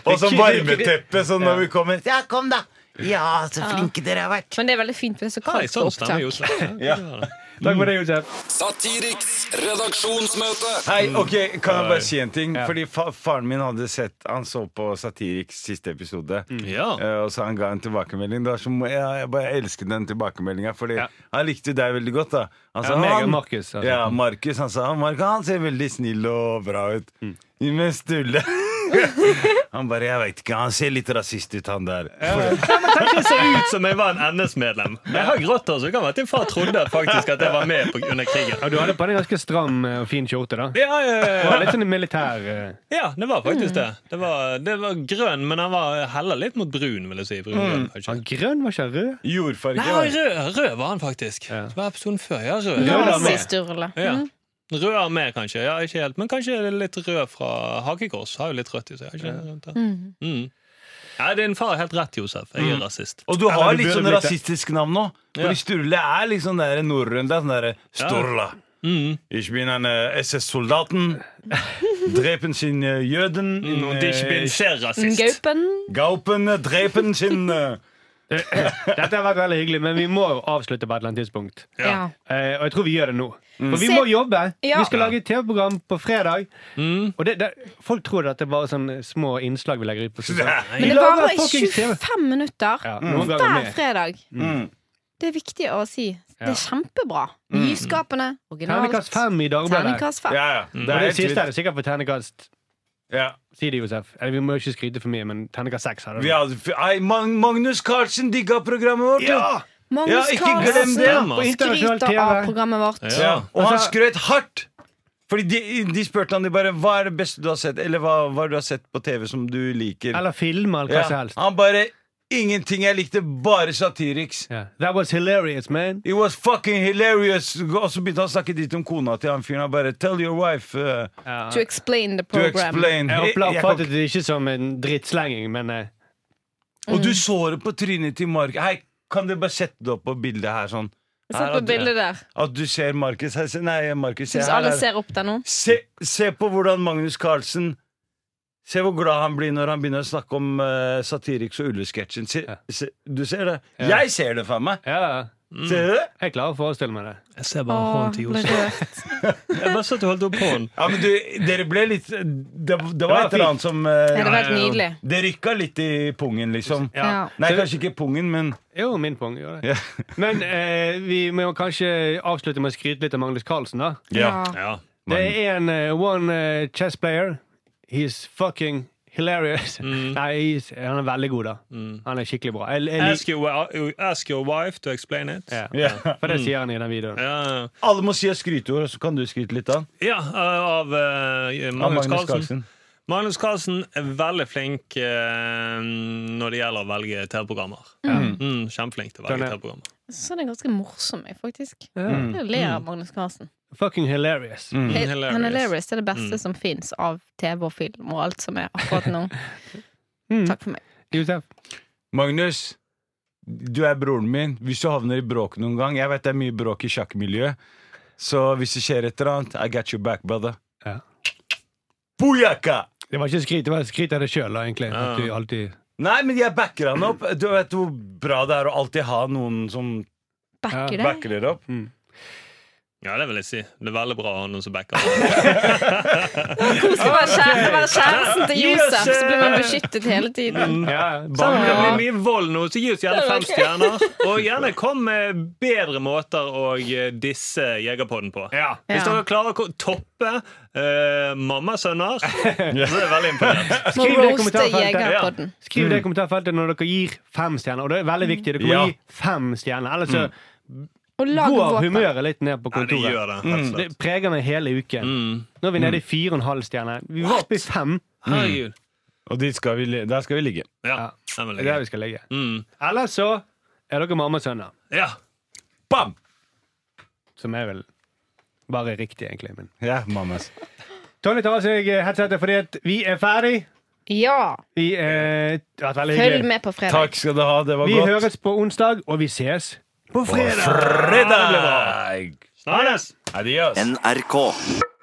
Speaker 2: Og så varmeteppe, sånn når vi kommer. Ja, kom, da! Ja, så flinke dere har vært.
Speaker 6: Ah.
Speaker 5: Men det er veldig fint, for det er så
Speaker 6: Har jeg
Speaker 5: kaldt på
Speaker 6: sånn stemme,
Speaker 5: opptak.
Speaker 6: Josef?
Speaker 2: Ja.
Speaker 4: Takk for det, Josef.
Speaker 3: Satiriks redaksjonsmøte.
Speaker 2: Hei, ok, Kan jeg bare si en ting?
Speaker 4: Mm. Ja.
Speaker 2: Fordi fa Faren min hadde sett Han så på Satiriks siste episode.
Speaker 4: Mm.
Speaker 6: Ja.
Speaker 2: Eh, Og så han ga en tilbakemelding. Det var så, mo- jeg, jeg bare elsket den tilbakemeldinga, Fordi
Speaker 4: Ja.
Speaker 2: han likte deg veldig godt. da Han
Speaker 4: Ja, meg og
Speaker 2: han-
Speaker 4: Markus, altså.
Speaker 2: Ja, Markus, han sa han, Markus, han ser veldig snill og bra ut.
Speaker 4: Mm.
Speaker 2: Men Sturle Han bare 'Jeg veit ikke, han ser litt rasist ut, han der'.
Speaker 6: Kanskje jeg ser ut som jeg var en NS-medlem. Jeg har grått hår, så det kan være at din far trodde faktisk at jeg var med på, under krigen.
Speaker 4: Ja, du hadde på deg en ganske stram eh, og fin skjorte, da. Det
Speaker 6: Ja, ja, ja,
Speaker 4: var
Speaker 6: ja.
Speaker 4: litt sånn militær eh.
Speaker 6: ja, det var faktisk det. Det var, det var grønn, men han var heller litt mot brun, vil jeg si. Brun, grønn, kanskje.
Speaker 4: Han grønn, var ikke han rød?
Speaker 2: Jordfarge.
Speaker 6: Nei,
Speaker 2: var-
Speaker 6: rød, rød var han faktisk.
Speaker 4: Ja.
Speaker 6: Det var episoden før. Ja, Mm. rød.
Speaker 4: Rød
Speaker 6: Ja.
Speaker 4: da. med.
Speaker 5: Sturle.
Speaker 6: Ja. Rød armé, kanskje. Ja, ikke helt, men kanskje litt rød fra hakekors. Har jo litt rødt i seg. har Ikke? det? Rundt der. Mm. Ja, din far har helt rett, Josef. Jeg er rasist.
Speaker 2: Og du har
Speaker 4: Eller du
Speaker 2: litt
Speaker 4: burde
Speaker 2: sånn
Speaker 4: blitt det.
Speaker 2: rasistisk navn nå. Fordi
Speaker 6: Ja.
Speaker 2: Sturle er litt sånn der norrøn. Det er sånn derre Sturla.
Speaker 4: Mm.
Speaker 2: Ich bin en eh, SS-soldaten. Drepen sin eh, jøden.
Speaker 6: Mm, og det er ikke blitt
Speaker 2: eh,
Speaker 6: ser rasist.
Speaker 5: Gaupen.
Speaker 2: Gaupen eh, drepen sin eh,
Speaker 4: Dette har vært veldig hyggelig, men vi må jo avslutte på et eller annet tidspunkt.
Speaker 5: Ja.
Speaker 4: Eh, og jeg tror vi gjør det nå. For vi
Speaker 5: Se-
Speaker 4: må jobbe.
Speaker 5: Ja.
Speaker 4: Vi skal lage et TV-program på fredag. Og det, det, folk tror at det er bare sånne små innslag vi legger ut på sosiale
Speaker 6: Nei.
Speaker 5: Men
Speaker 4: Vi
Speaker 5: det
Speaker 4: lager
Speaker 5: varer i
Speaker 4: fuckings TV.
Speaker 5: 25 minutter
Speaker 4: Ja, noen ganger
Speaker 5: hver
Speaker 4: mer.
Speaker 5: fredag.
Speaker 2: mm.
Speaker 5: Det er viktig å si. Det
Speaker 4: Ja.
Speaker 5: er kjempebra. Nyskapende,
Speaker 4: Ternekast
Speaker 5: originalt.
Speaker 4: fem i Dagbladet.
Speaker 5: Terningkast fem.
Speaker 2: Ja, ja.
Speaker 4: Mm. Og det
Speaker 2: helt
Speaker 4: siste
Speaker 2: vilt.
Speaker 4: er det sikkert på ternekast
Speaker 2: Ja.
Speaker 4: Si det, Josef. Eller, vi må jo ikke skryte for mye, men ternekast seks har
Speaker 2: Vi
Speaker 4: det.
Speaker 2: hadde, ei, Mag Magnus Carlsen digga programmet vårt! jo.
Speaker 4: Ja!
Speaker 2: Ja,
Speaker 5: Magnus
Speaker 2: ikke glem det!
Speaker 5: Carlsen
Speaker 4: På internasjonal
Speaker 5: skryter av
Speaker 4: TV.
Speaker 5: programmet vårt.
Speaker 6: Ja.
Speaker 2: Ja. Og han
Speaker 4: Altså-
Speaker 2: skrøt hardt! Fordi de, de spurte han de bare hva er det beste du har sett Eller hva, hva du har sett på TV som du liker.
Speaker 4: Eller film, eller hva
Speaker 2: Ja,
Speaker 4: som helst.
Speaker 2: Han bare Ingenting jeg likte, bare Satiriks.
Speaker 4: Ja. That was hilarious, man.
Speaker 2: It was fucking hilarious! Og så begynte han å snakke dritt om kona til han fyren. Han bare Tell your wife uh,
Speaker 4: Ja.
Speaker 5: To explain the
Speaker 2: to
Speaker 5: program.
Speaker 2: explain.
Speaker 4: Jeg
Speaker 2: Jeg kan-
Speaker 4: oppfattet det ikke som en drittslenging, men eh,
Speaker 2: Og
Speaker 5: Mm.
Speaker 2: du så det på trynet til Mark. Hei, kan dere bare sette det opp på bildet her, sånn?
Speaker 5: Se
Speaker 2: Her
Speaker 5: på
Speaker 2: at-
Speaker 5: bildet der.
Speaker 2: At du ser Markus her. Se- Nei, Markus. Se,
Speaker 5: Syns
Speaker 2: her,
Speaker 5: alle
Speaker 2: her.
Speaker 5: ser opp der nå.
Speaker 2: Se, se på hvordan Magnus Carlsen Se hvor glad han blir når han begynner å snakke om eh, Satiriks og Ullesketsjen. Se,
Speaker 4: Ja.
Speaker 2: se, du ser det?
Speaker 4: Ja.
Speaker 2: Jeg ser det, faen meg!
Speaker 4: ja.
Speaker 2: Ser du det?
Speaker 4: Jeg klarer å forestille meg det.
Speaker 6: Jeg ser
Speaker 5: Å,
Speaker 6: bare hånden til
Speaker 5: ble
Speaker 6: Josef.
Speaker 5: rørt.
Speaker 6: Jeg bare så at du holdt opp hånden.
Speaker 2: Ja, men du, dere ble litt Det, det var et
Speaker 4: var
Speaker 2: eller annet som eh,
Speaker 5: Ja, det var helt
Speaker 6: Ja, ja, ja.
Speaker 5: nydelig.
Speaker 2: Det rykka litt i pungen, liksom.
Speaker 4: Ja.
Speaker 5: Ja.
Speaker 2: Nei, kanskje ikke pungen, men
Speaker 4: Jo, min pung gjør det.
Speaker 2: Ja.
Speaker 4: Men eh, vi må kanskje avslutte med å skryte litt av Magnus Carlsen, da.
Speaker 5: Ja.
Speaker 6: Ja.
Speaker 4: Det er en eh, one eh, chess player. He's fucking hilarious.
Speaker 6: Mm.
Speaker 4: Nei, he's, han er veldig god, da. Han er skikkelig bra. Jeg, jeg,
Speaker 6: Ask
Speaker 4: liker-
Speaker 6: your, wi- uh, ask your wife to explain it.
Speaker 4: ja.
Speaker 2: Ja.
Speaker 4: For
Speaker 6: Mm.
Speaker 4: det sier han i den videoen.
Speaker 6: Ja,
Speaker 2: Alle må si et skryteord, så kan du skryte litt av
Speaker 6: ja av eh,
Speaker 2: av
Speaker 6: Magnus Carlsen. Magnus Carlsen er veldig flink eh, når det gjelder å velge TV-programmer. Mm, kjempeflink til å
Speaker 4: Den
Speaker 6: velge
Speaker 4: er-
Speaker 6: TV-programmer.
Speaker 5: Så er det ganske morsom, jeg, faktisk.
Speaker 4: Ja.
Speaker 5: Jeg ler av Magnus Carlsen.
Speaker 4: Fucking hilarious.
Speaker 2: Mm.
Speaker 5: He-
Speaker 6: Hilarious.
Speaker 5: Han er hilarious. Det er det beste som fins av TV og film og alt som er akkurat nå.
Speaker 4: Mm.
Speaker 5: Takk for meg.
Speaker 4: Josef.
Speaker 2: Magnus, du er broren min. Hvis du havner i bråk noen gang Jeg vet det er mye bråk i sjakkmiljøet, så hvis det skjer et eller annet, I got your back, brother.
Speaker 4: Ja.
Speaker 2: Booyaka!
Speaker 4: Det var ikke skryt, det var skryt av deg sjøl, egentlig.
Speaker 6: Ja.
Speaker 4: At du alltid
Speaker 2: Nei, men jeg backer han opp. Du vet hvor bra det er å alltid ha noen som
Speaker 5: Backer deg.
Speaker 2: backer dere opp.
Speaker 6: Ja, det vil jeg si. Det er veldig bra å ha noen som backer. opp.
Speaker 5: Kos å være kjære- være kjæresten til
Speaker 6: Gi oss,
Speaker 5: Josef, så blir man
Speaker 6: eh,
Speaker 5: beskyttet hele
Speaker 6: Mm.
Speaker 5: tiden.
Speaker 4: ja,
Speaker 6: Selv om det
Speaker 4: ja.
Speaker 6: blir mye vold nå, så gi oss gjerne fem stjerner. Og gjerne kom med bedre måter å eh, disse Jegerpodden på.
Speaker 4: Ja.
Speaker 6: Hvis
Speaker 5: Ja.
Speaker 6: dere klarer å ko- toppe uh, mammasønner, så er jeg veldig imponert.
Speaker 5: Må
Speaker 4: Skriv det i
Speaker 5: roaste
Speaker 4: kommentarfeltet.
Speaker 5: Jegerpodden.
Speaker 4: Skriv
Speaker 6: Mm.
Speaker 4: det i kommentarfeltet når dere gir fem stjerner. Og det er veldig viktig. Dere må
Speaker 2: Ja.
Speaker 4: gi fem stjerner. Ellers så
Speaker 5: Og lag
Speaker 4: går
Speaker 5: våpen.
Speaker 4: humøret litt ned på
Speaker 6: Mm. Ja, det
Speaker 4: kontoret.
Speaker 6: gjør det. Helt
Speaker 4: det Mm.
Speaker 6: slett.
Speaker 4: preger meg hele uken.
Speaker 6: Mm.
Speaker 4: Nå er vi nede i fire og en halv stjerne. Vi var oppe i fem.
Speaker 6: Herregud.
Speaker 2: Og dit skal vi, li- der skal vi ligge.
Speaker 6: Ja. den
Speaker 4: Det
Speaker 6: vil
Speaker 4: er
Speaker 6: jeg
Speaker 4: der
Speaker 6: gi.
Speaker 4: vi skal ligge.
Speaker 6: Mm.
Speaker 4: Ellers så er dere mammasønner.
Speaker 6: Ja.
Speaker 2: Bam!
Speaker 4: Som er vel bare riktig, egentlig. Men.
Speaker 2: Ja, mammas.
Speaker 4: Tonje tar av seg eh, headsetet fordi at vi er ferdig.
Speaker 5: Ja.
Speaker 4: Vi eh, det har vært veldig
Speaker 5: Følg
Speaker 4: hyggelig.
Speaker 5: med på fredag.
Speaker 2: Takk skal du ha, det var
Speaker 4: Vi
Speaker 2: godt.
Speaker 4: høres på onsdag, og vi ses på fredag.
Speaker 2: fredag!
Speaker 6: Snakkes!
Speaker 2: Adios!
Speaker 1: NRK.